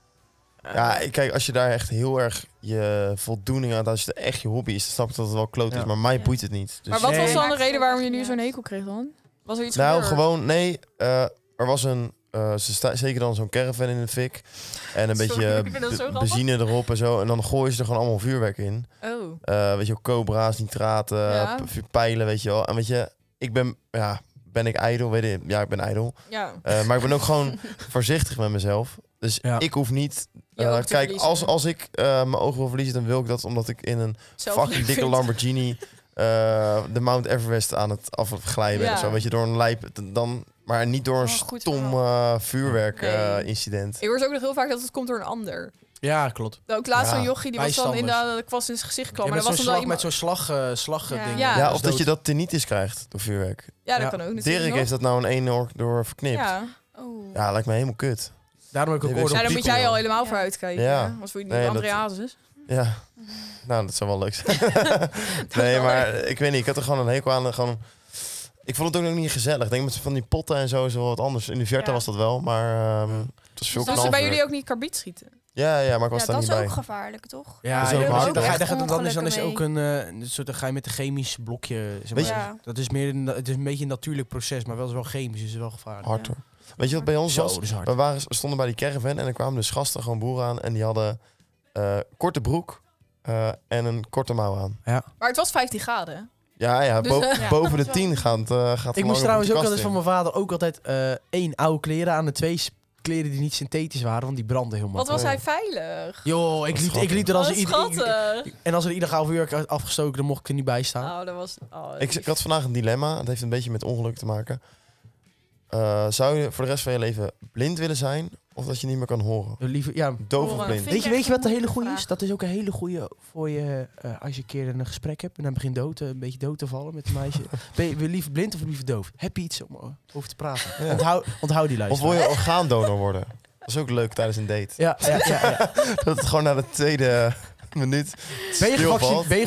S1: Ja, ik- kijk, als je daar echt heel erg je voldoening aan, als het echt je hobby is, dan snap ik dat het wel kloot
S5: Ja.
S1: is. Maar mij
S6: Ja.
S1: boeit het niet. Dus
S3: maar wat
S5: Nee.
S3: was dan de
S6: Maakt
S3: reden
S6: het
S3: waarom je
S6: ook
S3: nu
S6: niet
S3: zo'n
S6: uit.
S3: hekel kreeg dan? Was er iets
S1: Nou,
S3: gebeurd?
S1: gewoon, nee. eh, er was een. eh, ze sta, zeker dan zo'n caravan in de fik. En een
S3: Sorry,
S1: beetje
S3: ik vind dat
S1: be-
S3: zo grappig.
S1: benzine erop en zo. En dan gooien ze er gewoon allemaal vuurwerk in.
S3: Oh,
S1: Eh, weet je, ook cobra's, nitraten,
S3: Ja.
S1: p- pijlen, weet je wel. En weet je, ik ben, ja, ben ik ijdel? Weet ik, ja, ik ben ijdel.
S3: ja.
S1: Eh, maar ik ben ook gewoon voorzichtig met mezelf. Dus
S5: Ja.
S1: ik hoef niet...
S3: Je
S1: eh,
S3: oog te
S1: kijk,
S3: verliezen.
S1: als, als ik eh, mijn ogen wil verliezen, dan wil ik dat omdat ik in een
S3: Zelf
S1: fucking
S3: leuk
S1: dikke
S3: vindt.
S1: Lamborghini eh, de Mount Everest aan het afglijden ben.
S3: Ja.
S1: of Zo, weet je, door een lijp, dan, maar niet door een
S6: Oh, goed
S1: stom eh vuurwerk
S3: Nee.
S1: eh, incident.
S3: Ik hoor ook nog heel vaak dat het komt door een ander.
S5: Ja, klopt.
S3: Ook Nou, laatst
S1: Ja,
S3: zo'n jochie, die was dan in
S5: bijstanders.
S3: de kwast in zijn gezicht
S5: Ja,
S3: geklommen.
S5: met
S3: maar
S5: zo'n
S3: dat was dan
S5: slag, met
S3: iemand...
S5: zo'n slag, eh, slag eh,
S6: Ja.
S5: ding.
S1: Ja,
S3: Ja.
S5: Dat is
S1: of dat je
S5: dood.
S1: dat tinnitus krijgt door vuurwerk.
S3: Ja, dat
S5: Ja.
S3: kan ook natuurlijk
S1: Dirk
S3: nog.
S1: heeft dat nou in één oor door verknipt. Ja,
S3: Ja.
S6: Oh.
S1: lijkt me helemaal kut.
S5: Daarom heb ik
S1: Nee, dat
S5: ook oordeel
S3: Ja,
S5: op
S3: dan moet
S5: people.
S3: jij al helemaal voor
S6: Ja.
S3: uitkijken.
S1: Ja.
S3: Ja. Als voor je niet
S1: Nee,
S3: met
S1: dat-
S3: André Hazes is.
S1: Ja. Nou, dat zou wel leuk zijn. nee, maar ik weet niet. Ik had er gewoon een hekel aan. Gewoon... Ik vond het ook nog niet gezellig. Ik denk met van die potten en zo is wel wat anders. In de Vierta
S6: Ja.
S1: was dat wel, maar ehm het was veel
S3: Dus ze bij
S1: knalvuur.
S3: jullie ook niet karbiet schieten?
S1: Ja, ja, maar ik was daar
S6: Ja, dat
S1: niet
S6: is
S1: bij.
S6: ook gevaarlijk, toch?
S5: Ja,
S1: Dat is
S5: ja,
S1: ook
S5: maar
S1: hard,
S5: dan,
S1: hè?
S5: ga je- dan, dan, is, dan is er ook
S6: Ongelukken
S5: een, eh, een soort, dan ga je met een chemisch blokje. Zeg maar.
S1: Weet je-
S6: Ja.
S5: Dat is meer een, het is een beetje een natuurlijk proces, maar wel, is wel chemisch, dus wel gevaarlijk.
S1: Hard hoor. Weet je wat bij ons
S5: Zo,
S1: was?
S5: dat is hard.
S1: We waren, stonden bij die caravan en er kwamen dus gasten, gewoon boeren aan. En die hadden eh, korte broek eh, en een korte mouw aan.
S3: Maar het was 15 graden.
S1: Ja, ja,
S3: Dus,
S1: bo-
S3: eh, ja.
S1: boven de tien gaat, eh gaat
S5: Ik
S1: lang
S5: moest
S1: op
S5: trouwens
S1: de
S5: ook
S1: kast
S5: altijd van
S1: in.
S5: mijn vader ook altijd eh, één oude kleren aan en twee s- kleren die niet synthetisch waren, want die brandden helemaal.
S3: Wat was
S1: mooi.
S3: hij veilig?
S5: Joh, ik
S1: Wat
S5: liep, ik liep er als
S3: Wat
S5: ieder- ik-
S3: schattig.
S5: En als er iedere half uur werd afgestoken, dan mocht ik er niet bij staan.
S3: Oh, dat was... Oh,
S1: Ik, ik had vandaag een dilemma. Het heeft een beetje met ongeluk te maken. Eh, zou je voor de rest van je leven blind willen zijn of dat je niet meer kan horen?
S5: Liever, ja.
S1: Doof of
S3: Horen.
S1: blind?
S6: Vind ik
S5: Weet je,
S6: echt
S5: weet je wat de
S6: een
S5: hele
S6: moeilijke
S5: goede is?
S6: vraag.
S5: Dat is ook een hele goede voor je eh, als je een keer een gesprek hebt en dan begint dood, eh, een beetje dood te vallen met een meisje. ben je wil je liever blind of liever doof? Heb je iets om eh, over te praten?
S1: Ja.
S5: Onthoud, onthoud die
S1: Of
S5: luisteraar.
S1: wil je orgaandonor worden? Dat is ook leuk tijdens een date.
S5: Ja, ja, ja, ja.
S1: Dat het gewoon na de tweede minuut
S5: Ben, je
S1: stilvalt.
S5: gevacci- ben je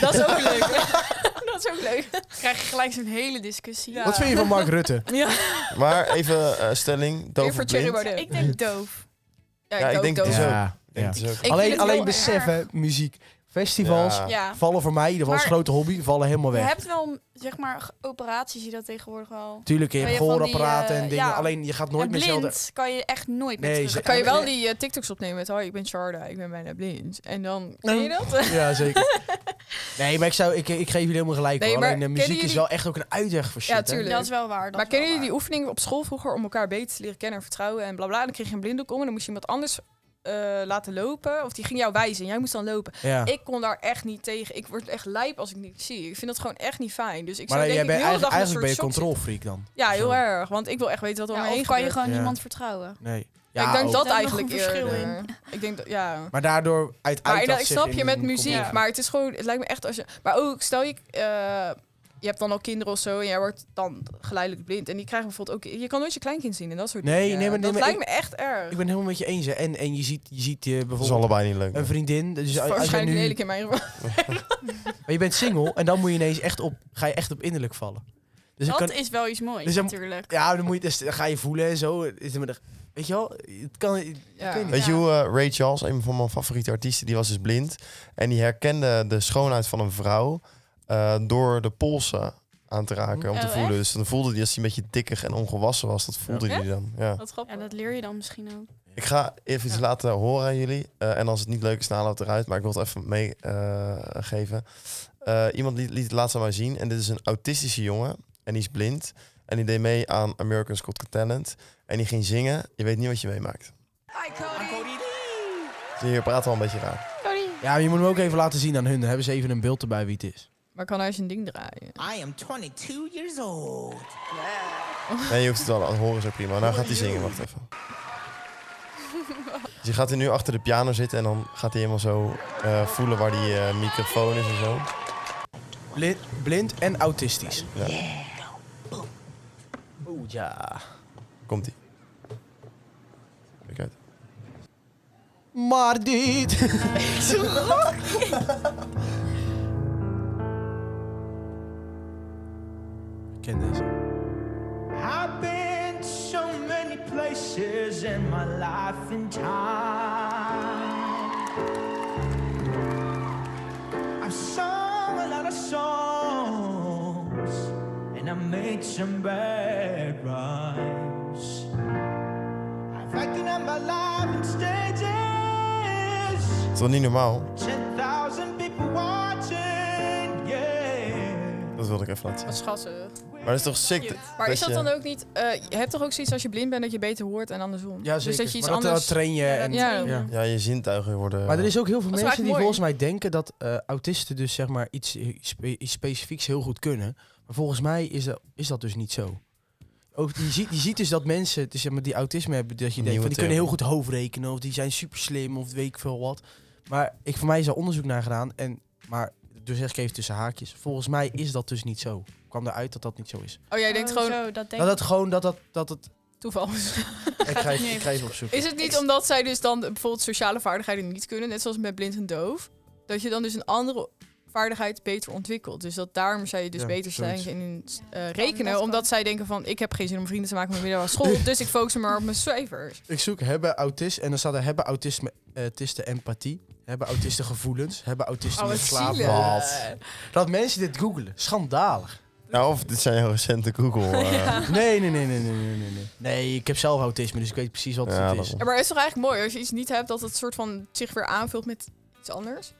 S3: Dat is ook leuk. dat is ook leuk.
S6: Dan krijg je gelijk zo'n hele discussie.
S3: Ja.
S5: Wat vind je van Mark Rutte?
S3: Ja,
S1: Maar even eh, stelling,
S3: Weer
S1: doof
S3: voor
S1: of
S3: Thierry
S1: blind?
S3: Baudet.
S6: Ik denk doof.
S1: Ja, ik
S3: ook
S1: denk
S3: dood.
S1: het is ook.
S5: Ja,
S1: Ik denk het is ook-
S3: Ik vind
S5: Alleen,
S3: het
S5: alleen
S3: heel
S5: beseffen, muziek, festivals
S1: Ja.
S6: Ja.
S5: vallen voor mij, dat was
S6: Maar-
S5: een grote hobby, vallen helemaal
S6: Je
S5: weg.
S6: hebt wel, zeg maar, g- operaties die dat tegenwoordig wel...
S5: Tuurlijk, je
S6: Wil
S5: hebt
S6: je van die,
S5: gehoorapparaten
S6: eh,
S5: en dingen,
S6: ja.
S5: alleen je gaat
S6: en
S5: nooit meer
S6: blind
S5: zelden...
S6: kan je echt nooit
S5: Nee,
S6: meer
S5: ze-
S6: terug.
S3: Kan je wel die eh, TikToks opnemen met... Hoi, ik ben Sharda, ik ben bijna blind. En dan... Ken je dat?
S5: Ja, zeker. Nee, maar ik, zou, ik, ik geef jullie helemaal gelijk.
S3: Nee,
S5: hoor.
S3: maar
S5: Alleen eh, muziek
S3: kennen
S5: is
S3: jullie-
S5: wel echt ook een uitweg voor shit.
S3: Ja,
S5: hè?
S3: tuurlijk.
S6: Dat is wel waar. dat
S3: Maar
S6: is wel
S3: kennen jullie die
S6: waar.
S3: oefeningen op school vroeger om elkaar beter te leren kennen en vertrouwen en blablabla? Dan kreeg je een blinddoek om en dan moest je iemand anders eh, laten lopen. Of die ging jou wijzen en jij moest dan lopen.
S5: Ja.
S3: Ik kon daar echt niet tegen. Ik word echt lijp als ik niks zie. Ik vind dat gewoon echt niet fijn. Dus ik
S5: maar
S3: zou
S5: eh,
S3: denk
S5: jij
S3: ik
S5: bent
S3: heel de dag
S5: eigenlijk,
S3: met
S5: eigenlijk ben
S3: een soort
S5: je
S3: shock
S5: controlfreak
S3: zitten. Ja, heel
S5: Zo.
S3: erg. Want ik wil echt weten wat er om
S6: Ja,
S3: me heen
S6: of kan je
S3: gebeurt.
S6: gewoon
S5: Ja. Dus
S6: niemand vertrouwen?
S5: dan. Nee.
S3: Ja, ik denk
S5: ook.
S3: dat
S6: Daar nog
S3: eigenlijk
S6: een verschil
S3: eerder. Ik denk dat, ja.
S5: Maar daardoor
S3: Maar
S5: uit uit
S3: inderdaad,
S5: dat
S3: ik
S5: zich
S3: snap
S5: in
S3: je met
S5: een
S3: muziek,
S5: controle-
S3: maar het is gewoon, het lijkt me echt als je. Maar ook stel je, eh, je hebt dan al kinderen of zo en jij wordt dan geleidelijk blind en die krijgen bijvoorbeeld ook, je kan nooit je kleinkind zien en dat soort
S5: Nee,
S3: dingen.
S5: nee, maar- nee,
S3: dat
S5: maar
S3: lijkt
S5: ik-
S3: me echt erg.
S5: Ik ben helemaal met je eens. Hè. En, en je ziet, je ziet eh,
S1: Dat is
S5: bijvoorbeeld
S1: allebei niet leuk.
S5: een vriendin. Dus als- als jij
S3: Waarschijnlijk
S5: nu,
S3: lelijk in mijn geval.
S5: maar je bent single en dan moet je ineens echt op, ga je echt op innerlijk vallen. Dus ik
S6: dat
S5: kan,
S6: is wel iets moois
S5: Dus dan-
S6: natuurlijk.
S5: ja, dan, moet je, dus, dan ga je voelen en zo. Is het maar- Weet je wel, het kan,
S3: Ja.
S5: weet niet.
S1: Weet je
S6: Ja.
S1: hoe eh, Ray Charles, een van mijn favoriete artiesten, die was dus blind. En die herkende de schoonheid van een vrouw eh, door de polsen aan te raken, om te
S6: Oh,
S1: voelen.
S6: echt? Oh,
S1: Dus dan voelde hij als hij een beetje dikker en ongewassen was, dat voelde hij dan. Ja.
S3: Wat grappig.
S6: Ja, dat leer je dan misschien ook.
S1: Ik ga even iets laten horen aan jullie. Eh, en als het niet leuk is, haal het eruit. Maar ik wil het even meegeven. Eh, iemand liet, liet het laatst aan mij zien. En dit is een autistische jongen. En die is blind. En die deed mee aan America's Got Talent. En die ging zingen. Je weet niet wat je meemaakt. Zie je, je praat al een beetje raar.
S5: Ja, maar je moet hem ook even laten zien aan hun. Dan hebben ze even een beeld erbij wie het is.
S3: Maar kan hij zijn ding draaien?
S2: I am 22 years old.
S1: Nee, je hoeft het wel aan horen, zo prima. Nou gaat hij zingen, wacht even. Dus je gaat hij nu achter de piano zitten en dan gaat hij helemaal zo eh, voelen waar die eh, microfoon is en zo.
S5: Blind, blind en autistisch.
S1: Ja.
S5: Oeh, ja.
S1: Komt hij. Kijk uit.
S5: Maar dit... Ik ken deze.
S2: I've been so many places in my life and time. I've sung a lot of songs and I made made some bad rhymes. I've acted out my life in stages.
S1: is wel niet normaal?
S2: 10,000 people watching, yeah.
S1: Dat wilde ik even laten zien.
S3: Schassen.
S1: Maar dat is toch sick?
S6: Cute.
S3: Maar is dat
S1: je-
S3: dan ook niet... eh, je hebt toch ook zoiets als je blind bent dat je beter hoort en andersom?
S5: Ja, zeker.
S3: Dus dat je iets
S5: maar dat, eh,
S3: anders...
S5: train je.
S6: Ja, dat
S5: en,
S3: Ja.
S6: train je.
S1: Ja, je zintuigen worden...
S5: Maar er is ook heel veel
S3: Dat is
S5: mensen die
S3: eigenlijk mooi.
S5: volgens mij denken dat eh, autisten dus zeg maar iets, eh, spe- iets specifieks heel goed kunnen. Maar volgens mij is dat, is dat dus niet zo. Ook, je, ziet, je ziet dus dat mensen dus zeg maar, die autisme hebben, dat je denkt
S1: Nieuwe
S5: van die kunnen heel goed hoofdrekenen of die zijn super slim of weet ik veel wat. Maar ik, voor mij is daar onderzoek naar gedaan. En, maar dus zeg ik even tussen haakjes. Volgens mij is dat dus niet zo. Ik kwam eruit dat dat niet zo is.
S3: Oh, jij denkt
S6: Oh,
S3: gewoon
S6: zo, dat denk
S5: Nou, Dat het gewoon dat dat. dat het,
S3: toeval.
S5: ik, ga,
S6: het
S5: even-
S6: niet.
S5: ik ga even opzoeken.
S3: Is het niet omdat zij dus dan bijvoorbeeld sociale vaardigheden niet kunnen, net zoals met blind en doof, dat je dan dus een andere vaardigheid beter ontwikkelt? Dus dat daarom zij je dus
S5: Ja,
S3: beter
S5: zoiets.
S3: zijn in eh,
S6: dat
S3: rekenen,
S6: kan.
S3: omdat zij denken van ik heb geen zin om vrienden te maken met middelbare school, dus ik focus me maar op mijn cijfers.
S5: Ik zoek hebben autist en dan staat er hebben autisme, eh, autisten empathie, hebben autisten gevoelens, hebben autisten
S3: Oh, wat
S5: met slaap.
S3: zielig.
S5: Wat? Dat mensen dit googelen, schandalig.
S1: Nou, of dit zijn heel recente Google... eh,
S5: Oh, Nee, nee, nee, nee, nee, nee, nee, nee. Nee, ik heb zelf autisme, dus ik weet precies wat
S1: Ja,
S5: het
S1: dat
S5: is.
S1: wel.
S3: Ja, maar het is toch eigenlijk mooi als je iets niet hebt dat het soort van zich weer aanvult met iets anders?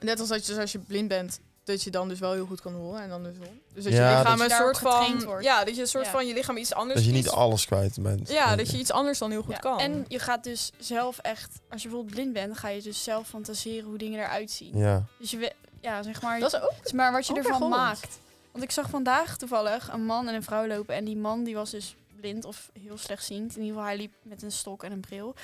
S3: Net als dat je, dus als je blind bent, dat je dan dus wel heel goed kan horen en dan dus wel. Dus dat
S1: Ja,
S3: je
S1: dat-
S3: lichaam
S6: Dat
S3: een
S6: je daarop
S3: soort van,
S6: getraind wordt.
S3: ja, dat je een soort
S6: Ja.
S3: van je lichaam iets anders
S1: dat je niet
S3: iets-
S1: alles kwijt bent.
S3: Ja, dat je iets anders dan heel goed
S6: Ja,
S3: kan.
S6: En je gaat dus zelf echt, als je bijvoorbeeld blind bent, dan ga je dus zelf fantaseren hoe dingen eruit zien.
S1: Ja.
S6: Dus je, we- ja, zeg maar,
S3: dat is ook
S6: het is maar wat je
S3: ook
S6: ervan
S3: echt Hollands.
S6: maakt. Want ik zag vandaag toevallig een man en een vrouw lopen en die man die was dus blind of heel slechtziend. In ieder geval, hij liep met een stok en een bril.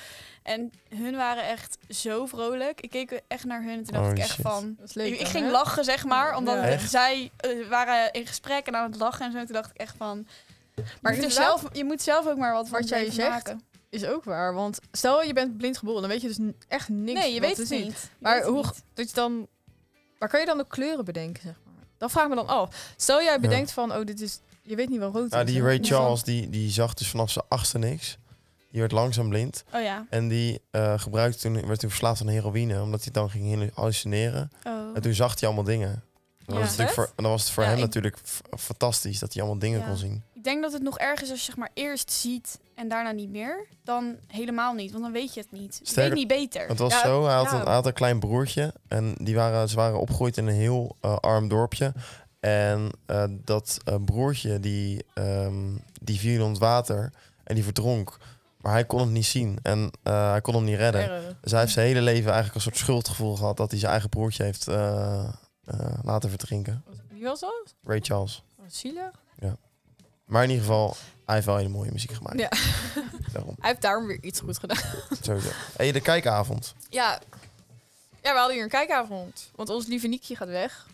S6: En hun waren echt zo vrolijk. Ik keek echt naar hun en toen dacht
S1: Oh,
S6: ik echt
S1: shit.
S6: van...
S3: Dat is
S6: Ik,
S3: leuk
S6: ik
S3: dan,
S6: ging
S3: hè?
S6: lachen, zeg maar, omdat
S3: Ja.
S1: Echt?
S6: zij eh, waren in gesprek en aan het lachen en zo. Toen dacht ik echt van... Maar je moet, er
S3: inderdaad,
S6: zelf, je moet zelf ook maar wat van
S3: wat jij
S6: blijven
S3: zegt,
S6: maken.
S3: Is ook waar, want stel je bent blind geboren, dan weet je dus n- echt niks.
S6: Nee, je
S3: wat
S6: weet het niet. Je
S3: Maar
S6: weet het
S3: hoe-
S6: niet.
S3: Dat je dan, waar kan je dan de kleuren bedenken, zeg maar? Dat vraag ik me dan af. Stel jij bedenkt van, oh, dit is, je weet niet wat rood
S1: Nou,
S3: is.
S1: die
S3: hè?
S1: Ray
S3: Dus
S1: Charles, die, die zag dus vanaf zijn achtste niks. Die werd langzaam blind.
S6: Oh ja.
S1: En die eh, gebruikte toen, werd toen verslaafd aan heroïne, omdat hij dan ging helu- hallucineren.
S6: Oh.
S1: En toen zag hij allemaal dingen. En
S6: Ja.
S1: dan, was het natuurlijk voor, en dan was het voor
S6: Ja,
S1: hem
S6: ik-
S1: natuurlijk f- fantastisch dat hij allemaal dingen
S6: Ja.
S1: kon zien.
S6: Ik denk dat het nog erg is als je zeg maar eerst ziet en daarna niet meer. Dan helemaal niet, want dan weet je het niet. Je
S1: Sterker-
S6: weet niet beter.
S1: Want het was
S3: Ja,
S1: zo, hij had,
S3: ja.
S6: nou.
S1: een, hij had een klein broertje en die waren, ze waren opgegroeid in een heel eh, arm dorpje. En eh, dat eh, broertje die, ehm, die viel in het water en die verdronk. Maar hij kon hem niet zien en eh, hij kon hem niet redden.
S3: erg.
S1: Dus hij heeft zijn hele leven eigenlijk een soort schuldgevoel gehad dat hij zijn eigen broertje heeft eh, eh, laten verdrinken.
S3: Wie was dat?
S1: Ray Charles.
S3: Oh, zielig.
S1: Maar in ieder geval, hij heeft wel hele mooie muziek gemaakt.
S3: Ja.
S1: Daarom,
S3: Hij heeft daarom weer iets goed gedaan.
S1: sowieso. hey, de kijkavond.
S3: Ja. Ja, we hadden hier een kijkavond. Want ons lieve Niekje gaat weg.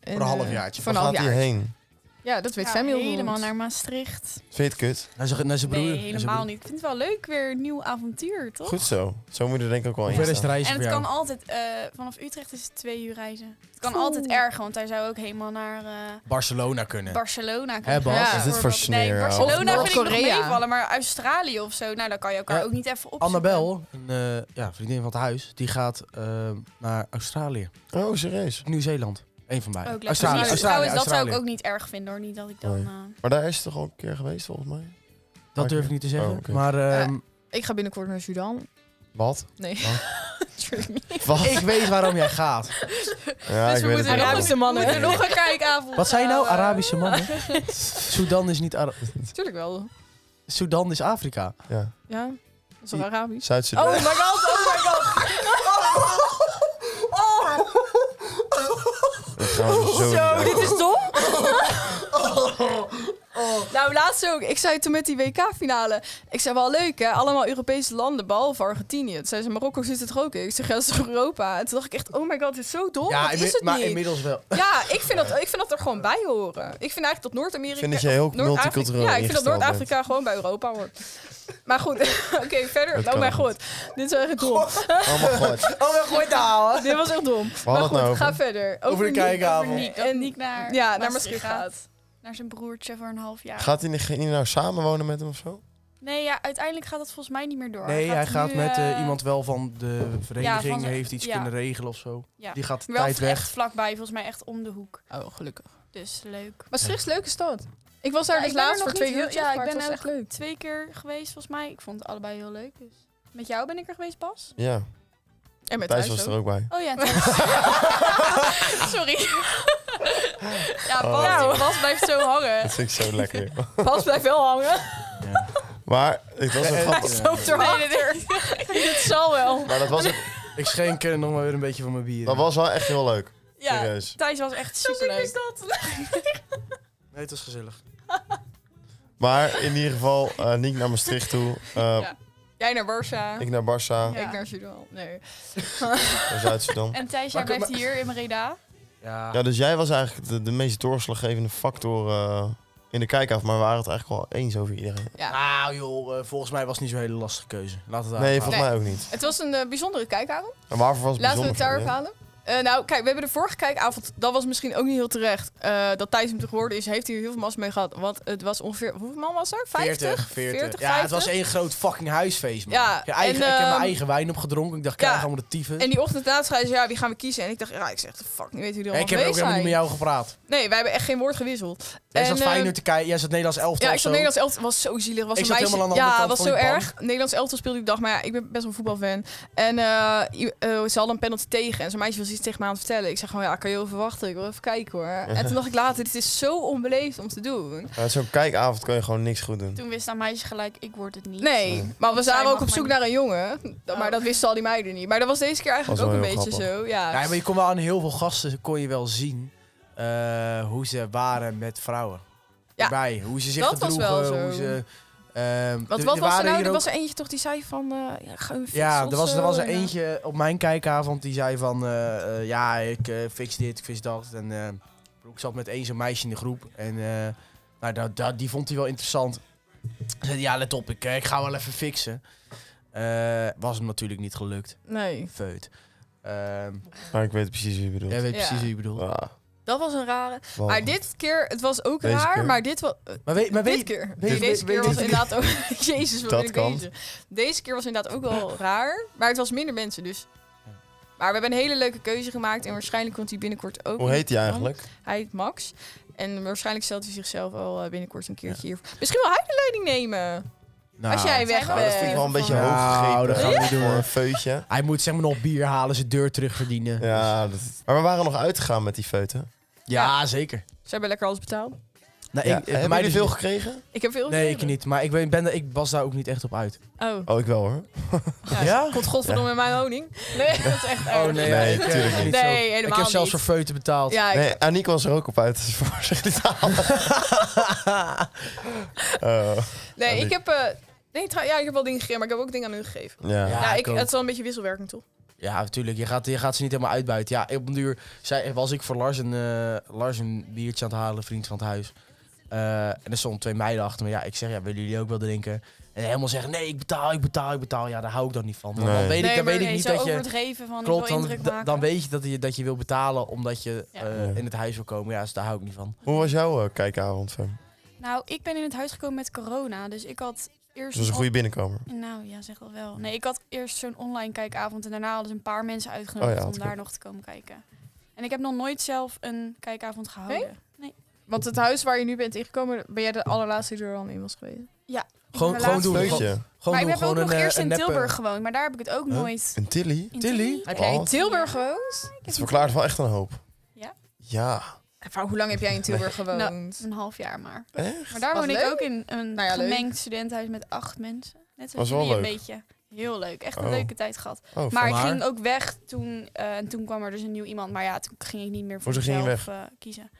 S3: En,
S5: Voor een
S3: eh,
S5: halfjaartje.
S3: Voor een
S1: Waar gaat hij
S3: halfjaar.
S1: heen?
S3: Ja, dat weet
S6: Ja,
S3: Samuel
S6: helemaal
S3: goed.
S6: naar Maastricht.
S1: Vind je het kut?
S5: Naar zijn, naar zijn broer.
S6: nee, helemaal niet. Ik vind het wel leuk, weer een nieuw avontuur, toch?
S1: Goed zo. Zo moet je er denk ik ook wel
S5: Hoe
S1: in
S5: ver is de
S1: staan.
S5: reis
S6: En
S5: voor
S6: het
S5: jou?
S6: kan altijd, eh, vanaf Utrecht is het twee uur reizen. Het kan
S3: Oeh.
S6: altijd erger, want hij zou ook helemaal naar eh,
S5: Barcelona kunnen.
S6: Barcelona kunnen.
S5: Hè, Bas?
S3: Ja.
S6: gaan,
S3: Is
S1: dit voor
S6: bijvoorbeeld. Nee,
S1: sneer, ouwe?
S6: Barcelona
S3: Of
S6: vind ik nog
S3: Noord-Korea.
S6: meevallen, maar Australië of zo, nou dan kan je elkaar
S5: Ja.
S6: ook niet even opzoeken.
S5: Annabel, een eh, ja, vriendin van het huis, die gaat eh, naar Australië.
S1: Oh, serieus.
S5: Nieuw-Zeeland. Eén van beiden.
S6: Ook lekker.
S5: Australië,
S6: Dus
S5: Australië,
S6: trouwens, dat zou
S5: Australië.
S6: ik ook niet erg vinden hoor. Niet dat ik dan.
S1: Nee.
S6: eh,
S1: Maar daar is het toch al een keer geweest, volgens mij?
S5: Dat durf ik niet te zeggen.
S1: Oh, oké.
S5: Maar ehm,
S3: Ik ga binnenkort naar Sudan.
S1: Wat?
S3: Nee.
S1: Wat?
S5: ik weet waarom jij gaat.
S1: Ja,
S3: dus
S1: ik
S3: we
S1: weet het
S3: moeten
S1: wel.
S3: Arabische mannen.
S6: moeten nog een kijkavond.
S5: Wat zijn nou
S6: houden.
S5: Arabische mannen? Sudan is niet Ara
S3: Tuurlijk wel.
S5: Sudan is Afrika.
S1: Ja.
S3: Ja. Dat is wel Arabisch.
S1: Zuid-Sudan.
S3: Oh my god, oh my god.
S1: Dat gaan we dus zo
S3: Zo,
S1: doen.
S3: dit is dom. Nou, laatst ook. Ik zei toen met die WK-finale. Ik zei wel leuk, hè? Allemaal Europese landen, behalve Argentinië. Toen zei ze, Marokko zit het er ook in. Ik zeg, ja, dat is toch Europa? En toen dacht ik echt, oh my god, dit is zo dom. Ja,
S5: inmi-
S3: is het
S5: maar
S3: niet?
S5: inmiddels wel.
S3: Ja, ik vind, dat, ik vind dat er gewoon bij horen. Ik vind eigenlijk dat Noord-Amerika...
S1: Vind dat je heel
S3: of Noord-Afrika-
S1: multicultureel
S3: Ja, ik vind dat
S1: ingesteld
S3: Noord-Afrika gewoon bij Europa hoort. Maar goed, oké, verder.
S1: Dat
S3: oh
S1: kan
S3: mijn
S1: niet.
S3: god, dit is wel echt dom.
S1: Oh mijn god.
S5: Oh, we gooien daar.
S3: dit was echt dom.
S1: We
S3: Maar
S1: hadden het
S3: goed,
S1: nou
S3: ga
S1: over.
S3: verder. Over,
S5: de
S3: Niek.
S5: kijkavond.
S6: Over Niek, dat
S3: En-
S6: Niek naar,
S3: Ja, naar Maastricht gaat.
S6: Naar zijn broertje voor een half jaar.
S1: Gaat hij niet- ging hij nou samenwonen met hem of zo?
S6: Nee, ja, uiteindelijk gaat dat volgens mij niet meer door.
S5: Nee, hij gaat
S6: nu,
S5: met eh,
S6: eh,
S5: iemand wel van de vereniging,
S6: van de-
S5: heeft iets
S6: ja.
S5: kunnen regelen of zo.
S6: Ja.
S5: Die gaat
S6: Wel
S5: tijd weg.
S6: echt vlakbij, volgens mij echt om de hoek.
S3: Oh, gelukkig.
S6: Dus leuk.
S3: Maastricht is een leuke stad. Ik was daar
S6: Ja,
S3: dus
S6: ik ben er
S3: laatst
S6: nog
S3: voor twee
S6: niet heel-
S3: uurtjes,
S6: ja, ik
S3: maar het
S6: ben
S3: was
S6: er
S3: echt leuk.
S6: Twee keer geweest volgens mij. Ik vond het allebei heel leuk. Dus. Met jou ben ik er geweest, Bas.
S1: Ja,
S3: En met
S1: Thijs
S3: thuis,
S1: was
S3: ook.
S1: er ook bij.
S6: Oh ja, Thijs. Sorry. ja, Bas,
S5: Oh.
S3: Nou.
S6: Bas blijft zo hangen.
S1: Dat vind ik zo lekker.
S3: Bas blijft wel hangen.
S1: Maar het was een
S5: Ja,
S1: grappig.
S5: ja.
S3: Loopt erachter.
S6: Nee, dit-
S3: Het zal wel.
S1: Maar dat was,
S5: Ik schenk er nog maar weer een beetje van mijn bier.
S1: dat
S5: in.
S1: was wel echt heel leuk.
S6: Ja,
S1: Serieus.
S6: Thijs was echt superleuk.
S3: dat?
S5: Nee, het was gezellig.
S1: Maar in ieder geval, eh Niek naar Maastricht toe. eh,
S3: Ja. Jij naar Barça.
S1: Ik naar Barça,
S6: Ja.
S3: Ik naar Sudan. Nee.
S1: naar Zuid-Sudan.
S6: En Thijs, jij
S5: Maar-
S6: blijft hier in Breda.
S5: Ja.
S1: Ja, dus jij was eigenlijk de, de meest doorslaggevende factor eh, in de kijkaf. Maar we waren het eigenlijk wel eens over iedereen.
S5: Nou joh, eh, volgens mij was het niet zo'n hele lastige keuze. Laat het
S1: Nee,
S5: daar.
S1: volgens mij ook niet.
S3: Het was een eh, bijzondere kijkavond.
S1: En waarvoor was het
S3: Laten we het
S1: bijzonder
S3: daarop
S1: voor je?
S3: halen. Eh, nou, kijk, we hebben de vorige kijkavond, dat was misschien ook niet heel terecht. eh, dat Thijs hem te geworden is, heeft hij er heel veel mas mee gehad. Want het was ongeveer, hoeveel man was er? 50?
S5: 40, 40.
S3: 40,
S5: ja, het
S3: 50.
S5: was één groot fucking huisfeest, man.
S3: Ja,
S5: ik, heb eigen,
S3: en,
S5: ik heb mijn
S3: ehm,
S5: eigen wijn opgedronken. Ik dacht,
S3: ja.
S5: krijg allemaal de tyfus.
S3: En die ochtend na zei ze, ja, wie gaan we kiezen? En ik dacht, ja, ik zeg, de fuck, niet weten wie er
S5: Ja, ik
S3: allemaal
S5: heb ook
S3: mee
S5: helemaal niet
S3: zijn.
S5: met jou gepraat.
S3: Nee, wij hebben echt geen woord gewisseld.
S5: Jij
S3: En,
S5: zat
S3: ehm,
S5: Feyenoord te kijken, jij zat Nederlands elftal
S3: Ja, ik
S5: of
S3: zat
S5: zo.
S3: Nederlands elftal, was zo zielig. Was
S5: Ik
S3: een
S5: zat
S3: meisje,
S5: helemaal aan de andere
S3: ja, was
S5: kant van
S3: zo
S5: die pan.
S3: erg. Nederlands elftal speelde die dag, maar ja, ik ben best wel een voetbalfan. En eh, i- eh, ze hadden een penalty tegen en zo'n meisje was iets tegen me aan het vertellen. Ik zeg gewoon, ja, kan je overwachten? Ik wil even kijken hoor. En toen dacht ik later, dit is zo onbeleefd om te doen.
S1: Ja, Zo'n kijkavond kan je gewoon niks goed doen.
S6: Toen wist dat meisje gelijk, ik word het niet.
S5: eh,
S3: Nee, maar we
S6: zij
S3: waren ook op
S6: mag maar
S3: zoek
S6: niet.
S3: naar een jongen. Dat- Maar
S6: Oh.
S3: dat wisten al die meiden niet. Maar dat was deze keer eigenlijk
S1: Was
S3: ook
S1: wel
S3: een
S1: heel
S3: beetje
S1: grappig.
S3: zo. Ja.
S5: Ja, maar je kon wel aan heel veel gasten kon je wel zien eh, hoe ze waren met vrouwen.
S3: Ja.
S5: Bij, hoe ze zich
S3: Dat was
S5: gedroegen,
S3: wel zo.
S5: hoe ze... ehm,
S3: Want
S5: er-
S3: wat
S5: er
S3: was er
S5: waren
S3: nou?
S5: hier
S3: Er
S5: ook-
S3: was er eentje toch die zei van... eh, ja, ga een fiets
S5: Ja,
S3: of
S5: er was,
S3: zo.
S5: er was er
S3: En, eh,
S5: eentje op mijn kijkavond die zei van... eh, eh, ja, ik eh, fix dit, ik fix dat. En eh, ik zat met één zo'n meisje in de groep. En eh, nou, dat, dat, die vond hij wel interessant. Zei hij, ja, let op, ik, eh, ik ga wel even fixen. Eh, was hem natuurlijk niet gelukt.
S3: Nee,
S5: Feut. Ehm,
S1: Maar ik weet precies wie je bedoelt.
S5: jij weet
S3: Ja.
S5: precies wie ik bedoel.
S1: Ah,
S3: dat was een rare.
S5: Oh.
S1: wel.
S3: Maar dit keer, het was ook
S1: Deze
S3: raar,
S1: keer?
S3: maar dit was... eh,
S5: Maar weet, maar
S3: dit
S5: weet,
S3: keer.
S5: weet-
S3: Deze
S5: weet-
S3: keer was
S5: weet-
S3: inderdaad ook... Jezus, wat
S1: Dat
S3: ben ik
S1: kan.
S3: bezig. Deze keer was inderdaad ook wel raar, maar het was minder mensen dus. Maar we hebben een hele leuke keuze gemaakt en waarschijnlijk komt hij binnenkort ook.
S1: Hoe heet hij eigenlijk?
S3: Hij heet Max. En waarschijnlijk stelt hij zichzelf al eh, binnenkort een keertje hier. Misschien wil hij de leiding nemen.
S5: Nou,
S3: als jij weg
S6: Zijn we
S1: Nou,
S3: bent.
S1: dat vind ik wel een beetje
S5: Nou,
S1: hoog gegrepen.
S5: dat gaan we niet doen,
S1: Voor
S5: hoor.
S1: Een feutje.
S5: Hij moet zeg maar nog bier halen, zijn deur terugverdienen.
S1: Ja, dat- Maar we waren nog uitgegaan met die feuten.
S5: Ja, zeker.
S3: Ze hebben lekker alles betaald.
S5: Nou,
S1: Ja,
S5: ik, eh, bij
S1: hebben
S5: mij
S1: jullie
S5: dus
S1: veel gekregen?
S3: Ik heb veel
S5: Nee, ik
S3: gegeven.
S5: niet. Maar ik, ben, ben, daar- ik was daar ook niet echt op uit.
S3: Oh,
S1: Oh, ik wel hoor.
S3: ja.
S5: Ja?
S3: Komt godverdomme in mijn honing. Nee, dat is
S5: Oh,
S3: echt erg.
S1: ja, Nee, ik, eh, tuurlijk niet.
S3: Nee, helemaal
S5: Ik heb zelfs voor
S3: niet.
S5: feuten betaald.
S3: Ja, ik-
S1: Nee, Aniek was er ook op uit. Dus voor zich niet halen. Eh,
S3: nee,
S1: Ja,
S3: ik heb... eh, nee, trouw- ja, ik heb wel dingen gegeven, maar ik heb ook dingen aan hun gegeven.
S1: ja.
S5: Ja.
S1: Ja.
S3: Ja,
S5: ik
S3: ik,
S5: ook.
S3: het is wel een beetje wisselwerking, toch?
S5: Ja, natuurlijk. Je gaat, je gaat ze niet helemaal uitbuiten. Ja, op een duur zei, was ik voor Lars een, eh, Lars een biertje aan het halen, vriend van het huis. Eh, en er stonden twee meiden achter me. Ja, ik zeg, ja, willen jullie ook wel drinken? En helemaal zeggen, nee, ik betaal, ik betaal, ik betaal. Ja, daar hou ik dan niet van. Want
S1: Nee.
S5: dan weet ik,
S6: Nee,
S5: dan
S6: maar
S5: weet ik
S6: nee,
S5: niet
S6: zo
S5: dat je...
S6: overdreven van,
S5: Klopt,
S6: ik wil
S5: dan,
S6: indruk maken.
S5: dan weet je dat, je dat je wil betalen omdat je
S6: Ja.
S5: eh,
S1: Ja.
S5: in het huis wil komen. Ja, dus daar hou ik niet van.
S1: Hoe was jouw eh, kijkavond, Fem?
S6: Nou, ik ben in het huis gekomen met corona, dus ik had eerst...
S1: Ze was een
S6: on-
S1: goede binnenkomer.
S6: Nou, ja, zeg wel wel. Nee, ik had eerst zo'n online kijkavond en daarna hadden ze een paar mensen uitgenodigd
S1: Oh ja,
S6: om
S1: had ik
S6: daar
S1: ook.
S6: nog te komen kijken. En ik heb nog nooit zelf een kijkavond gehouden.
S3: Nee? Want het huis waar je nu bent ingekomen, ben jij de allerlaatste die er al in was geweest.
S6: Ik
S5: Gewoon-
S6: ben de
S5: gewoon
S6: laatste-
S5: doen.
S1: Feutje.
S5: Gewoon
S6: Maar
S5: doen,
S6: ik heb ook
S5: gewoon
S6: nog
S5: een, eh,
S6: eerst
S5: een
S6: in
S5: neppe-
S6: Tilburg gewoond, maar daar heb ik het ook
S1: Huh?
S6: nooit.
S1: Een Tilly?
S6: in
S5: Tilly?
S3: Heb jij in
S1: Wat?
S3: Tilburg gewoond?
S1: Het verklaart wel echt een hoop.
S6: Ja?
S1: Ja.
S3: Mevrouw, hoe lang heb jij in Tilburg gewoond?
S6: Een half jaar maar.
S1: Echt?
S6: Maar daar
S3: Was
S6: woon ik
S3: leuk?
S6: ook in een
S3: Nou ja, leuk.
S6: gemengd studentenhuis met acht mensen.
S1: Was
S6: Net zoals
S1: wel
S6: jullie een
S1: leuk.
S6: beetje. Heel leuk. Echt een
S1: Oh.
S6: leuke tijd gehad.
S1: Oh,
S6: Maar ik
S5: Maar-
S6: ging ook weg toen. eh, en toen kwam er dus een nieuw iemand. Maar ja, toen ging ik niet meer voor
S1: Hoezo ging je
S6: mezelf eh, kiezen.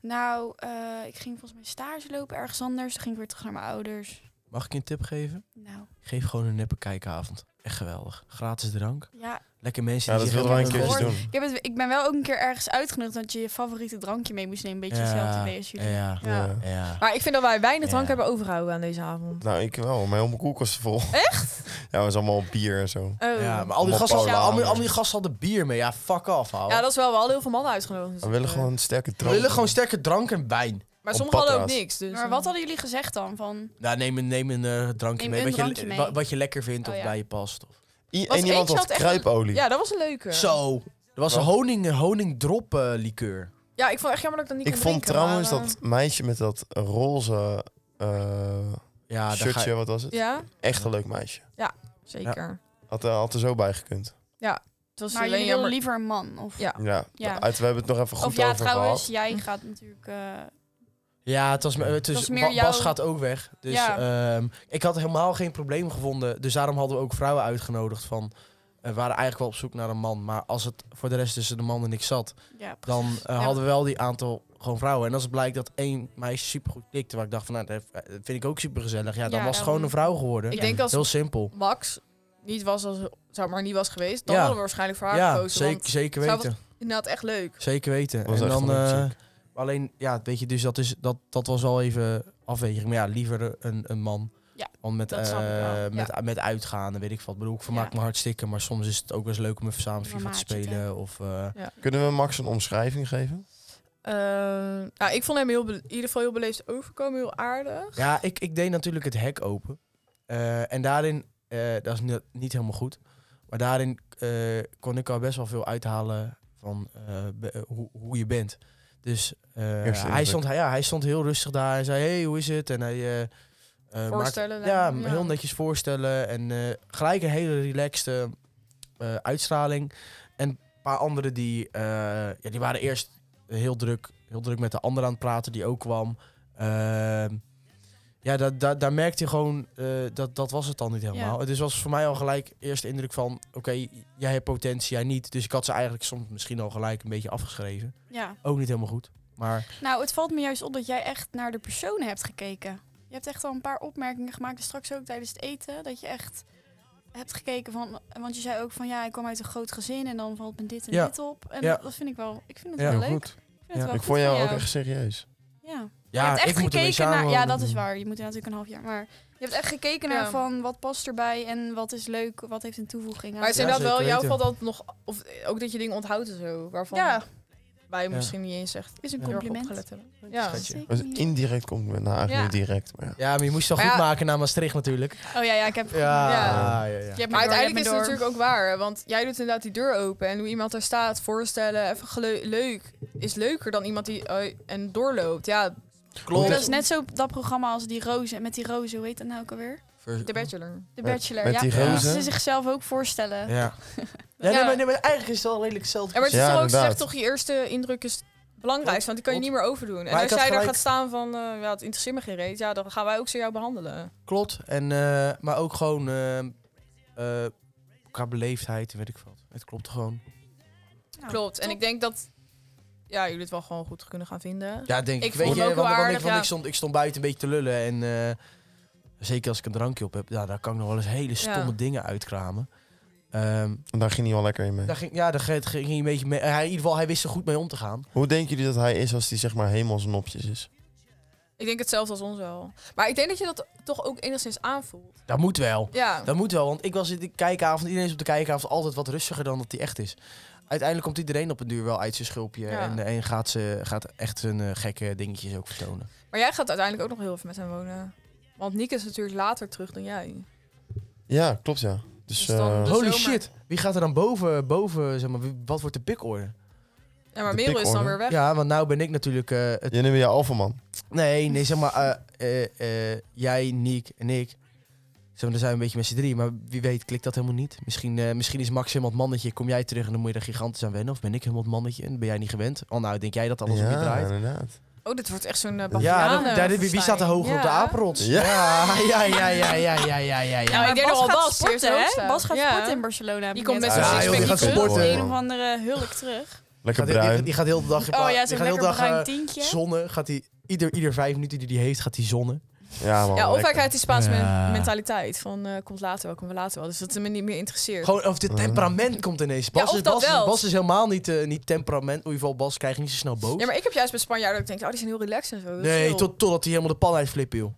S6: Nou, eh, ik ging volgens mij stage lopen ergens anders. Toen ging ik weer terug naar mijn ouders.
S5: Mag ik je een tip geven?
S6: Nou,
S5: Geef gewoon een neppe kijkavond. Echt geweldig. Gratis drank.
S6: ja.
S5: Lekker mensen
S1: Ja,
S5: die
S1: dat
S5: zich
S1: wilden wij een
S5: helemaal
S1: keertje
S5: vergooien.
S1: doen.
S6: Ik, heb het, ik ben wel ook een keer ergens uitgenodigd dat je je favoriete drankje mee moest nemen. Een beetje
S5: Ja,
S6: hetzelfde idee als jullie.
S5: Ja,
S3: doen. Ja.
S1: Ja.
S5: ja.
S3: Maar ik vind dat wij weinig drank
S5: Ja.
S3: hebben overgehouden aan deze avond.
S1: Nou, ik wel. Mijn hele koelkast is vol. Echt? ja, het was allemaal bier en zo.
S3: Oh.
S5: Ja,
S3: Ja,
S5: maar al die,
S1: Allemaal
S5: gasten,
S1: Paulaner.
S5: al, die, al die gasten hadden bier mee. Ja, fuck off, hou.
S3: dat is wel. We hadden heel veel mannen uitgenodigd. dus eh,
S1: We willen gewoon sterke
S5: We
S1: drank.
S5: willen gewoon sterke drank en wijn.
S3: Maar
S1: op
S3: sommigen hadden ook
S1: patra's.
S3: niks. Dus,
S6: Maar wat hadden jullie gezegd dan? Van,
S5: Nou, neem een, neem een eh, drankje
S6: Neem
S5: mee.
S6: een
S5: wat,
S6: drankje
S5: je,
S6: mee.
S5: wa- Wat, je lekker vindt
S6: Oh,
S5: of
S6: ja.
S5: bij je past. Of.
S1: I-
S3: Was
S1: en iemand
S3: eentje
S1: had
S3: had echt
S1: kruipolie.
S3: Ja, dat was een leuke.
S5: Zo. Er was een
S1: Wat?
S5: honing, honingdrop eh, liqueur.
S3: Ja, ik vond echt jammer dat ik dat niet
S1: Ik
S3: kon
S1: vond
S3: drinken,
S1: trouwens
S3: maar, eh,
S1: dat meisje met dat roze eh,
S5: Ja, daar
S1: shirtje,
S5: ga je-
S1: wat was het?
S3: eh, Ja,
S1: Echt een leuk meisje.
S3: zeker.
S1: Had, eh, had er zo bij gekund.
S3: Het was
S6: Maar
S3: alleen
S6: jullie willen
S3: jammer.
S6: nou, liever een man? Of,
S3: Ja.
S1: Ja,
S6: Ja.
S1: Uit, we hebben het nog even goed
S6: of ja,
S1: over
S6: trouwens,
S1: gehad.
S6: jij gaat natuurlijk... eh,
S5: ja, het was, me- het is,
S6: was meer
S5: Ba-
S6: jouw-
S5: Bas gaat ook weg. Dus
S6: Ja.
S5: ehm, ik had helemaal geen probleem gevonden. Dus daarom hadden we ook vrouwen uitgenodigd van... eh, We waren eigenlijk wel op zoek naar een man. Maar als het voor de rest tussen de man en ik zat...
S6: ja, precies.
S5: dan eh, hadden we wel die aantal gewoon vrouwen. En als het blijkt dat één meisje super goed klikte... waar ik dacht van, nou, dat dat vind ik ook super gezellig. Ja, dan
S6: Ja,
S5: was het
S6: dan-
S5: gewoon een vrouw geworden.
S3: Ik denk als
S5: Heel simpel.
S3: Max niet was als zou maar niet was geweest, dan
S5: Ja.
S3: hadden we waarschijnlijk voor haar
S5: Ja,
S3: gekozen.
S5: zeker, zeker
S3: zou
S5: weten.
S3: wat- Inderdaad, echt leuk.
S5: Zeker weten.
S1: Was
S5: en
S1: echt
S5: dan,
S1: een leuke
S5: eh, alleen, ja, weet je, dus dat, is, dat, dat was wel even afweging. Maar ja, liever een, een man.
S6: Ja,
S5: Want met,
S6: dat snap ik
S5: eh,
S6: wel.
S5: met, met uitgaan en weet ik wat. Ik bedoel, ik vermaak
S6: Ja.
S5: me hartstikke, maar soms is het ook wel eens leuk om even samen
S6: Om
S5: FIFA
S6: een
S5: te
S6: maatje te
S5: spelen. Of, eh,
S1: Kunnen we Max een omschrijving geven?
S3: Eh, nou, ik vond hem heel be- in ieder geval heel beleefd overkomen, heel aardig.
S5: ja, ik, ik deed natuurlijk het hek open. Eh, en daarin, eh, dat is ni- niet helemaal goed, maar daarin eh, kon ik al best wel veel uithalen van eh, be- eh, hoe, hoe je bent. Dus eh,
S1: Eerste
S5: hij,
S1: indruk.
S5: stond, ja, hij stond heel rustig daar en zei, hey, hoe is het? En hij eh, eh, maakte-
S3: Voorstellen.
S5: Ja,
S3: lijkt me.
S5: heel netjes voorstellen en eh, gelijk een hele relaxte eh, uitstraling. En een paar anderen die, eh, ja, die waren eerst heel druk, heel druk met de ander aan het praten die ook kwam. Ehm, ja, dat, dat, daar merkte je gewoon, eh, dat, dat was het dan niet helemaal. Dus was voor mij al gelijk eerst de indruk van, oké, jij hebt potentie, jij niet. Dus ik had ze eigenlijk soms misschien al gelijk een beetje afgeschreven.
S6: ja.
S5: Ook niet helemaal goed. Maar
S6: Nou, het valt me juist op dat jij echt naar de personen hebt gekeken. Je hebt echt al een paar opmerkingen gemaakt, en straks ook tijdens het eten, dat je echt hebt gekeken van, want je zei ook van ja, ik kwam uit een groot gezin en dan valt me dit en
S5: Ja.
S6: dit op. En
S5: Ja.
S6: dat vind ik wel, ik vind het
S5: Ja,
S6: wel
S1: Heel
S6: leuk. Ik
S1: goed.
S6: vind het
S5: Ja.
S6: wel
S1: Ik
S6: goed
S1: vond jou
S6: van
S1: ook echt serieus.
S6: Ja.
S5: ja,
S6: je hebt echt
S5: ik moet ermee
S6: gekeken naar, ja,
S5: samenwonen.
S6: dat is waar. Je moet er natuurlijk een half jaar, maar je hebt echt gekeken
S3: Ja.
S6: naar van wat past erbij en wat is leuk, wat heeft een toevoeging.
S3: Maar het is
S5: Ja,
S3: inderdaad wel
S5: zeker
S3: jouw
S5: weten.
S3: valt dat nog of eh, ook dat je dingen onthoudt en zo waarvan
S6: Ja.
S3: wij
S5: Ja.
S3: misschien niet eens echt
S6: is een
S5: Ja. heel erg
S3: compliment.
S6: compliment.
S3: opgelet hebben. Ja.
S5: Schatje.
S1: Dat is Dus indirect compliment. Nou, eigenlijk
S3: Ja.
S1: niet direct. Maar ja.
S5: Ja, maar je moest het
S3: Maar
S5: wel goed
S3: ja-
S5: maken naar Maastricht natuurlijk.
S6: Oh ja, ja, ik heb
S5: Ja, Ah, ja, ja.
S6: Je
S3: Maar
S6: hebt me door, je hebt
S3: uiteindelijk
S6: me
S3: is het
S6: door.
S3: natuurlijk ook waar. hè, Want jij doet inderdaad die deur open. En hoe iemand daar staat, voorstellen, even gele- leuk. Is leuker dan iemand die eh, en doorloopt. Ja,
S5: Klopt.
S6: Dat is net zo dat programma als die rozen, met die rozen, hoe heet dat nou ook alweer?
S3: de bachelor.
S6: De
S1: Met-
S6: Bachelor,
S1: met
S6: ja.
S1: die
S6: Dan moeten
S1: rozen.
S6: Ze zichzelf ook voorstellen.
S5: Ja.
S3: Ja, nee, maar-
S5: eigenlijk is het wel redelijk hetzelfde.
S3: En maar het is
S1: Ja,
S3: toch ook
S1: inderdaad.
S3: gezegd, toch je eerste indruk is het belangrijkste. Want die kan je niet meer overdoen. En
S5: Maar
S3: als
S5: ik
S3: jij
S5: had
S3: daar
S5: gelijk-
S3: gaat staan van, eh, ja, het interesseert me geen reet. Ja, dan gaan wij ook zo jou behandelen.
S5: Klopt. En, eh, maar ook gewoon eh, eh, qua beleefdheid, weet ik wat. Het klopt gewoon.
S3: Klopt. En
S6: top.
S3: ik denk dat ja, jullie het wel gewoon goed kunnen gaan vinden.
S5: Ja, denk ik.
S3: Ik
S5: weet
S3: vond
S5: je,
S3: hem ook
S5: want,
S3: wel
S5: want ik,
S3: aardig,
S5: want
S3: ja.
S5: ik, stond, ik stond buiten een beetje te lullen. En eh, zeker als ik een drankje op heb, ja, daar kan ik nog wel eens hele stomme
S3: Ja.
S5: dingen uitkramen. Ehm,
S1: En daar ging hij wel lekker in mee.
S5: daar ging, ja, daar ging ging hij een beetje mee. Hij, in ieder geval, hij wist er goed mee om te gaan.
S1: Hoe denken jullie dat hij is als hij zeg maar helemaal zijn nopjes is?
S3: Ik denk hetzelfde als ons wel. Maar ik denk dat je dat toch ook enigszins aanvoelt.
S5: Dat moet wel.
S3: Ja.
S5: Dat moet wel, want ik was in de kijkavond, iedereen is op de kijkavond altijd wat rustiger dan dat hij echt is. Uiteindelijk komt iedereen op een duur wel uit zijn schulpje
S3: Ja.
S5: en, en gaat, ze, gaat echt zijn eh, gekke dingetjes ook vertonen.
S3: Maar jij gaat uiteindelijk ook nog heel even met hem wonen. Want Nick is natuurlijk later terug dan jij.
S1: Ja, klopt ja. Dus,
S3: Dus dan-
S1: eh,
S3: Dus-
S5: Holy
S3: zomer.
S5: shit, wie gaat er dan boven, boven zeg maar, wie- wat wordt de pikorde?
S3: Ja,
S1: De
S3: maar Merel is dan
S1: pikorde.
S3: weer weg.
S5: Ja, want nou ben ik natuurlijk eh, het...
S1: jij neemt je alfaman.
S5: Nee, nee, zeg maar, eh, eh, eh, jij, Niek en ik. Zeg maar, dan zijn we een beetje met z'n drie, maar wie weet klikt dat helemaal niet. Misschien, eh, misschien is Max helemaal het mannetje, kom jij terug en dan moet je er gigantisch aan wennen. Of ben ik helemaal het mannetje en ben jij niet gewend. Oh nou, denk jij dat alles om je draait?
S1: Ja, inderdaad.
S3: Oh, dit wordt echt zo'n uh,
S5: Ja, dat, daar, wie, wie staat er hoger op de apenrots?
S1: Ja.
S5: ja, ja, ja, ja, ja, ja, ja. ja.
S3: Nou,
S6: maar
S3: ik denk nog wel Bas, die heeft
S6: sporten,
S3: er ook
S6: hè?
S3: staan.
S6: Bas gaat
S3: Ja.
S6: sporten in Barcelona. heb
S3: Die
S6: ik
S3: komt
S6: net
S3: met
S5: Ah,
S3: zijn
S5: joh, die
S3: sixpack
S5: gaat
S3: terug.
S5: sporten.
S6: Een of andere hulk terug.
S1: Lekker
S5: Gaat heel- die,
S1: bruin.
S5: gaat, die gaat heel de dag in pa-
S6: Oh ja,
S5: die
S6: zo'n
S5: gaat heel
S6: lekker
S5: de dag
S6: bruin
S5: eh,
S6: tientje.
S5: zonnen. Gaat die, ieder, ieder vijf minuten die hij heeft, gaat hij zonnen.
S1: Ja, man,
S3: Ja, of hij
S1: lekker.
S3: krijgt die Spaanse men-
S5: Ja.
S3: mentaliteit van eh, komt later wel, komt wel later wel. Dus dat het me niet meer interesseert.
S5: Gewoon, of dit temperament komt ineens. Bas,
S3: of
S5: is,
S3: dat
S5: Bas,
S3: wel.
S5: is, Bas is helemaal niet, eh, niet temperament. In ieder geval, Bas krijgt niet zo snel boos.
S3: Ja, maar ik heb juist bij Spanjaarden dat ik denk, oh, die zijn heel relaxed en zo. heel
S5: nee,
S3: chill.
S5: tot, totdat hij helemaal de pan uitflipt, joh.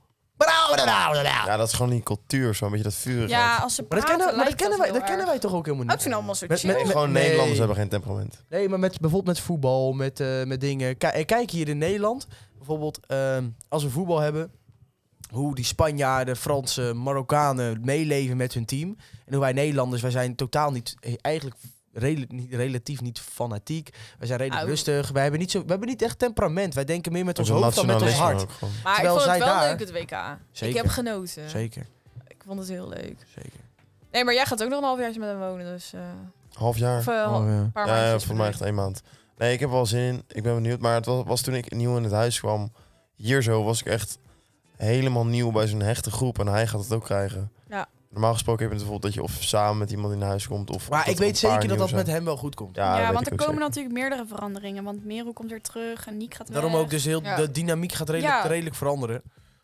S1: Ja, dat is gewoon die cultuur, zo'n beetje dat vuur.
S6: Ja, als ze
S5: Maar dat
S6: praten,
S5: kennen, maar dat
S6: lijkt
S5: kennen, wij,
S6: heel
S5: dat kennen
S6: erg.
S5: wij toch ook helemaal
S3: Oh, ik vind het
S5: niet?
S3: allemaal zo
S5: Met-
S3: chill.
S5: met-
S1: Gewoon
S5: Nee.
S1: Nederlanders hebben geen temperament.
S5: Nee, maar met, bijvoorbeeld met voetbal, met, eh, met dingen. Ki- eh, kijk hier in Nederland, bijvoorbeeld ehm, als we voetbal hebben, hoe die Spanjaarden, Fransen, Marokkanen meeleven met hun team. En hoe wij Nederlanders, wij zijn totaal niet, eh, eigenlijk rela- niet- relatief niet fanatiek. Wij zijn redelijk
S3: Au.
S5: rustig. Wij hebben, niet zo, wij hebben niet echt temperament. Wij denken meer met ons
S1: Onze
S5: hoofd dan met ons
S1: nationalisme
S5: hart.
S1: ook gewoon.
S3: Maar
S5: Terwijl
S3: ik vond
S5: zij
S3: het wel
S5: daar-
S3: leuk, het WK.
S5: Zeker.
S3: Ik heb genoten.
S5: Zeker,
S3: Ik vond het heel leuk.
S5: zeker.
S3: Nee, maar jij gaat ook nog een halfjaartje met hem wonen, dus... eh,
S1: Half jaar.
S3: of eh,
S5: Oh,
S3: een
S5: ja.
S3: paar
S1: Ja, ja,
S3: maandjes.
S1: volgens mij echt één maand. Nee, ik heb er wel zin in. Ik ben benieuwd. Maar het was, was toen ik nieuw in het huis kwam, hier zo, was ik echt helemaal nieuw bij zo'n hechte groep. En hij gaat het ook krijgen.
S3: Ja.
S1: Normaal gesproken heb je het bijvoorbeeld dat je of samen met iemand in huis komt. Of
S5: Maar
S1: er
S5: ik weet
S1: een paar
S5: zeker dat
S1: nieuw
S5: dat met
S1: zijn.
S5: hem wel goed komt.
S1: Ja,
S6: ja,
S1: dat weet
S6: want
S1: ik ook
S6: er komen
S1: zeker.
S6: natuurlijk meerdere veranderingen. Want Merel komt weer terug en Niek gaat weg.
S5: Daarom ook dus heel,
S3: Ja.
S5: de dynamiek gaat redelijk,
S3: Ja.
S5: redelijk veranderen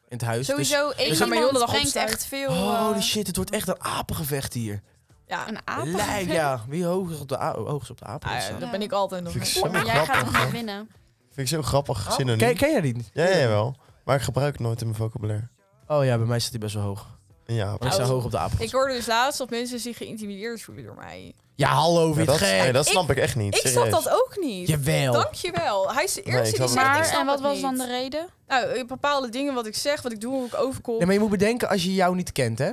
S5: in het huis.
S3: Sowieso, één
S5: dus-
S3: iemand
S5: maar
S3: heel de dag
S6: brengt
S3: opstuit.
S6: echt veel...
S5: Dus, holy
S6: eh,
S5: shit, het wordt echt een apengevecht hier.
S3: Ja,
S6: Een aap.
S5: Lijp, ja. Wie hoger op de, a- hoogst op de apen
S3: Ah, ja,
S5: staat.
S3: dat ben ik altijd nog.
S1: Vind ik zo
S6: Maar jij gaat
S1: grappig.
S6: hem niet
S1: hè.
S6: winnen.
S1: Vind ik zo grappig
S5: Oh,
S1: synoniem.
S5: ken, ken jij die niet?
S1: Ja, ja, wel. Maar ik gebruik het nooit in mijn vocabulaire.
S5: Oh ja, bij mij staat hij best wel hoog.
S1: Ja,
S5: Maar ik sta
S3: Oh.
S5: hoog op de apen.
S3: Ik hoorde dus laatst dat mensen zich geïntimideerd voelen door mij.
S5: Ja, hallo,
S1: Ja,
S5: wie
S1: dat,
S5: gek.
S1: hey, dat
S3: Ik-
S1: snap ik, echt niet.
S3: Ik snap
S1: serieus.
S3: dat ook niet.
S5: Jawel.
S3: Dankjewel. Hij is de eerste
S1: ik
S3: die
S1: snap het niet.
S3: zegt, ik
S6: Maar,
S3: snap
S6: en wat
S3: het
S6: was
S3: niet.
S6: dan de reden?
S3: Nou, eh, bepaalde dingen wat ik zeg, wat ik doe, hoe ik overkom.
S5: Nee, maar je moet bedenken als je jou niet kent, hè?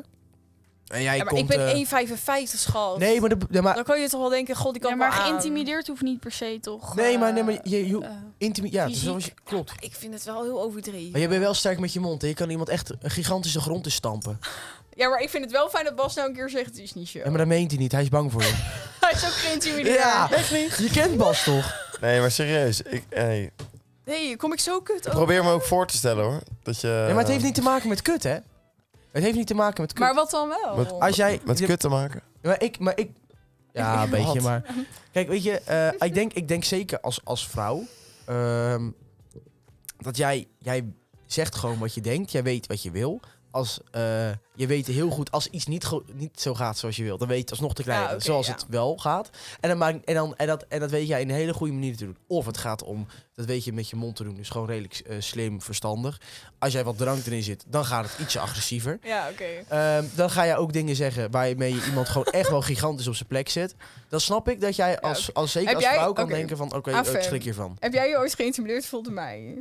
S5: En jij
S3: Ja, maar
S5: komt...
S3: ik ben
S5: eh,
S3: 1,55 schat.
S5: Nee, maar, de, nee, maar,
S3: Dan kan je toch wel denken, god, ik kan
S6: Ja, maar
S3: wel aan.
S6: geïntimideerd hoeft niet per se, toch?
S5: nee, maar, nee, maar
S6: eh,
S5: je, je,
S6: eh,
S5: intimi- ja,
S6: fysiek.
S5: zoals je- klopt.
S3: Ik vind het wel heel overdreven.
S5: Maar je bent wel sterk met je mond. Hè? Je kan iemand echt een gigantische grond in stampen.
S3: Ja, maar ik vind het wel fijn dat Bas nou een keer zegt, het is niet zo.
S5: Ja, maar dat meent hij niet. Hij is bang voor je.
S3: Hij is ook geïntimideerd.
S5: echt niet. Je kent Bas toch?
S1: Nee, maar serieus. Ik, hey, ik
S3: Nee, kom ik zo kut over?
S1: probeer me ook voor te stellen hoor. Dat je,
S5: Nee, maar het heeft niet te maken met kut, hè? Het heeft niet te maken met kut.
S3: Maar wat dan wel?
S1: Wat-
S5: als jij...
S1: Met kut te maken.
S5: Ja, Maar ik, maar ik. Ja, een beetje,
S1: Wat?
S5: maar. Kijk, weet je, eh, ik, denk, ik denk zeker als, als vrouw. ehm, dat jij, jij zegt gewoon wat je denkt. Jij weet wat je wil. Als, eh, je weet heel goed als iets niet, go- niet zo gaat zoals je wilt. Dan weet je het alsnog te krijgen
S3: Ja, oké,
S5: zoals
S3: ja.
S5: het wel gaat. En, dan maakt, en, dan, en, dat, en dat weet jij in een hele goede manier te doen. Of het gaat om, dat weet je met je mond te doen. Dus gewoon redelijk eh, slim, verstandig. Als jij wat drank erin zit, dan gaat het ietsje agressiever.
S3: Ja, oké.
S5: Ehm, dan ga jij ook dingen zeggen waarmee je iemand gewoon echt wel gigantisch op zijn plek zet. Dan snap ik dat jij als,
S3: oké.
S5: als zeker
S3: Heb
S5: als
S3: jij-
S5: vrouw kan
S3: oké.
S5: denken van oké, oh,
S3: Ah,
S5: ik
S3: fair.
S5: schrik hiervan.
S3: Heb jij je ooit geïntimideerd voelt door mij?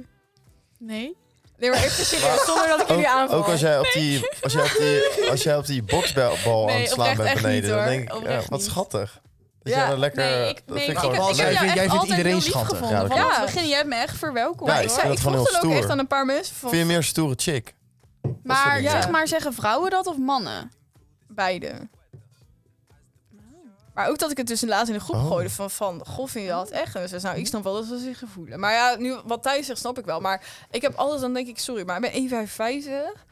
S6: Nee.
S3: Nee, maar even serieus, zonder dat ik jullie
S1: Ook,
S3: aanval.
S1: ook als jij op die, als jij op die, als jij op die boksbal aan
S3: Nee,
S1: het slaan
S3: oprecht
S1: bent
S3: echt
S1: beneden,
S3: niet,
S1: dan
S3: hoor.
S1: denk ik, ja,
S3: Oprecht
S1: wat
S3: niet.
S1: schattig. Dat
S3: Ja,
S1: jij dan lekker, eh,
S6: nee, ik,
S1: dat
S6: nee,
S1: vind
S6: ik,
S1: ik
S6: heb,
S1: gewoon
S6: ik heb
S5: Jij
S1: leuk.
S5: vind-
S6: jou
S5: jij vindt
S6: echt altijd
S5: iedereen
S6: heel lief
S5: schattig.
S6: gevonden.
S1: Ja, dat
S6: Vanaf
S3: klopt.
S6: het begin, je hebt me echt verwelkomd.
S1: Ja,
S3: ik zei,
S1: vind
S3: ik
S1: dat gewoon
S3: vroeg
S1: heel
S3: dat ook
S1: stoer.
S3: echt aan een paar mensen van
S1: Vind je meer stoere chick?
S6: maar
S1: dingen.
S6: zeg maar, zeggen vrouwen dat of mannen?
S3: beide. Maar ook dat ik het dus laatst in de groep
S1: Oh.
S3: gooide van, van, goh, vind je dat echt? En ze zei, nou, ik snap wel dat ze zich gevoelen. Maar ja, nu, wat Thijs zegt, snap ik wel. Maar ik heb altijd, dan denk ik, sorry, maar ik ben 1,55.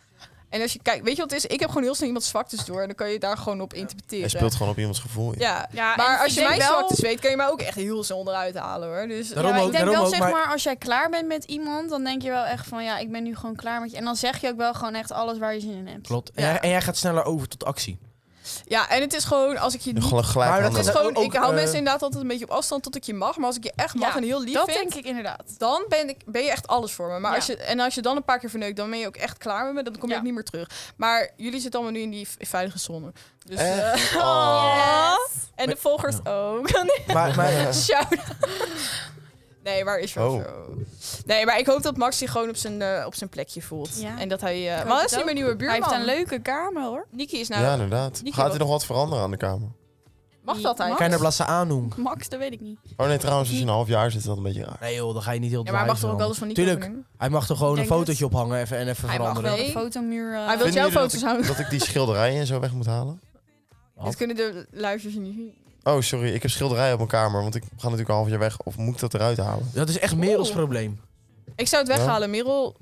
S3: En als je kijkt, weet je wat het is? Ik heb gewoon heel snel iemand zwaktes door. En dan kan je daar gewoon op
S1: Hij
S3: interpreteren.
S1: speelt gewoon op iemands gevoel. in.
S3: Ja,
S6: Ja,
S3: maar als je mijn zwaktes
S6: zwaktes
S3: weet, kan je mij ook echt heel snel onderuit halen, hoor. Dus,
S5: Daarom
S6: ja,
S5: ook,
S6: ik denk
S5: daarom
S6: wel,
S5: ook,
S6: zeg
S5: maar-
S6: maar... als jij klaar bent met iemand, dan denk je wel echt van, ja, ik ben nu gewoon klaar met je. En dan zeg je ook wel gewoon echt alles waar je zin in hebt.
S5: Klopt. En,
S3: Ja.
S5: jij, en jij gaat sneller over tot actie.
S3: Ja, en het is gewoon, als ik je niet...
S1: Gewoon gelijk
S5: Maar dat
S3: Het is
S1: handelen.
S5: Nou,
S3: gewoon,
S5: ook,
S3: ik hou
S5: eh,
S3: mensen inderdaad altijd een beetje op afstand tot ik je mag. Maar als ik je echt mag
S6: Ja,
S3: en heel lief
S6: dat
S3: vind,
S6: denk ik inderdaad.
S3: dan ben, ik, ben je echt alles voor me. Maar
S6: Ja.
S3: als je, en als je dan een paar keer verneukt, dan ben je ook echt klaar met me. Dan kom je
S6: Ja.
S3: ook niet meer terug. Maar jullie zitten allemaal nu in die v- veilige zone. Dus,
S1: Echt?
S3: eh,
S1: Oh.
S3: En de volgers ook.
S5: Maar, maar,
S3: Shout Nee, maar is wel
S1: Oh.
S3: zo. Nee, maar ik hoop dat Max zich gewoon op zijn, eh, op zijn plekje voelt.
S6: Ja.
S3: En dat hij... eh
S6: hoop
S3: maar dat is
S6: het
S3: niet
S6: ook.
S3: mijn nieuwe
S6: Hij
S3: buurman.
S6: heeft een leuke kamer, hoor.
S3: Niki is nou...
S1: Ja, inderdaad.
S3: Nico,
S1: Gaat
S3: wat-
S1: hij nog wat veranderen aan de kamer?
S3: Mag dat
S6: Mag?
S5: kan je
S3: eigenlijk?
S5: er blassen aandoen?
S6: Max, dat weet ik niet.
S1: Oh nee, trouwens, als je een half jaar zit, is dat een beetje raar.
S5: Nee joh, dan ga je niet heel
S3: Ja, maar hij mag toch ook wel eens van Nico
S5: Tuurlijk.
S3: doen?
S5: Hij mag er gewoon
S6: Ik
S5: een
S6: denk
S5: fotootje ophangen even, en even
S3: Hij mag
S5: veranderen.
S3: wel.
S6: De
S3: Nee.
S6: fotomuur...
S3: Hij
S6: eh,
S3: wil
S1: Vinden
S3: jouw
S1: jullie
S3: foto's houden.
S1: Dat ik die schilderijen en zo weg moet halen?
S3: Dit kunnen de luisteraars niet zien.
S1: Oh, sorry, ik heb schilderijen op mijn kamer, want ik ga natuurlijk een half jaar weg. Of moet ik dat eruit halen?
S5: Dat is echt Merels probleem.
S3: Ik zou het
S1: Ja.
S3: weghalen, Merel.
S1: Dat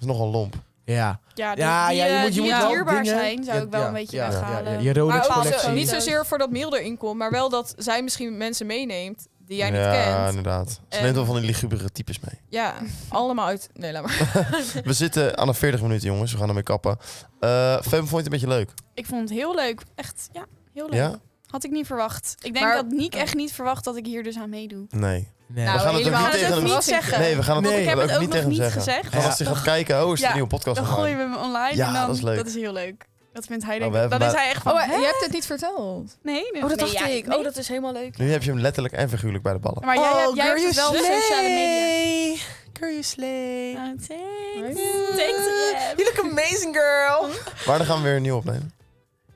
S1: is nogal lomp.
S5: Ja.
S6: Ja, die,
S5: Ja,
S6: die,
S5: ja, je
S6: eh,
S5: moet- je
S6: die
S5: moet wel
S6: dierbaar
S5: dingen-
S6: zijn, zou
S5: Ja,
S6: ik wel
S5: ja,
S6: een beetje
S5: ja, ja,
S6: weghalen.
S5: ja, je Rolex
S3: Maar ook
S5: collectie.
S3: niet
S6: Foto's.
S3: zozeer voor dat Merel erin komt, maar wel dat zij misschien mensen meeneemt die jij niet
S1: ja,
S3: kent.
S1: inderdaad. Ze
S3: En-
S1: neemt wel van die ligubere types mee.
S3: Ja, allemaal uit. Nee, laat maar.
S1: We zitten aan de 40 minuten, jongens. We gaan ermee kappen. Eh Fem, vond je het een beetje leuk?
S6: Ik vond het heel leuk. Echt, ja, heel Oh, leuk.
S1: Ja?
S6: Had ik niet verwacht. Ik denk
S3: Maar-
S6: dat Niek echt niet verwacht dat ik hier dus aan meedoe.
S1: Nee.
S5: Nee.
S3: Nou,
S1: we gaan het ook
S3: helemaal
S1: niet
S3: niet.
S1: tegen hem
S3: Verrassing.
S6: zeggen.
S1: Nee, we gaan het
S5: Nee.
S1: ook,
S5: Ik
S6: heb het
S1: ook
S6: ook
S1: niet
S6: nog
S1: tegen hem
S6: niet
S1: zeggen.
S6: gezegd.
S1: Gewoon
S5: Ja.
S1: als hij gaat kijken, oh, is er
S6: Ja,
S1: een nieuwe podcast
S6: Dan
S1: online?
S6: gooien we hem online
S1: Ja,
S6: en dan,
S1: dat is leuk.
S6: heel leuk. Dat vindt hij
S1: Oh,
S6: denk
S1: we
S6: ik.
S1: hebben
S6: Dan is
S1: maar-
S6: hij echt van,
S3: Oh,
S6: hè?
S3: je hebt het niet verteld.
S6: Nee, nee.
S3: Oh, dat
S6: nee,
S3: dacht
S6: ja,
S3: ik.
S6: nee.
S3: Oh, dat is helemaal leuk.
S1: Nu heb je hem letterlijk en figuurlijk bij de ballen.
S6: Maar
S5: Oh,
S6: jij, hebt- jij hebt
S3: dus
S6: het wel op sociale media.
S5: slay.
S6: Oh, thanks.
S3: Nice.
S6: Thanks, Rem.
S5: You look amazing, girl.
S3: Hm?
S1: Maar dan gaan we weer een nieuw opnemen.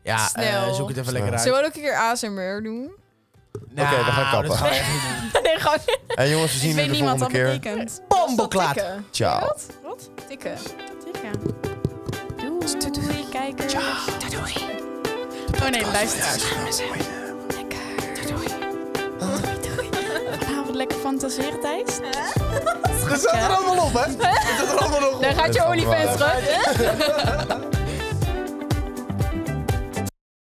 S5: Ja, eh,
S3: Snel.
S5: zoek het even
S1: Snel.
S5: lekker uit.
S3: Zullen we ook een keer ASMR doen?
S1: Oké, we gaan kappen.
S5: Dat gaan we echt niet doen.
S3: Nee, gewoon
S1: En jongens, we
S6: Ik
S1: zien
S6: weet
S1: jullie de
S6: niet wat
S1: volgende
S6: dat
S1: keer.
S6: betekent.
S5: Bamboklaat.
S3: tikken.
S1: Ciao.
S3: Wat? Tikken.
S6: Tikken. Doei. Doei, kijkers. Oh nee, luister. Lekker. Doei. Doei, doei. Vanavond lekker fantaseren, Thijs.
S5: Dat staat er allemaal op, hè? Dat staat er allemaal nog op.
S3: Daar gaat je
S1: Dat is
S3: OnlyFans
S1: allemaal
S3: terug.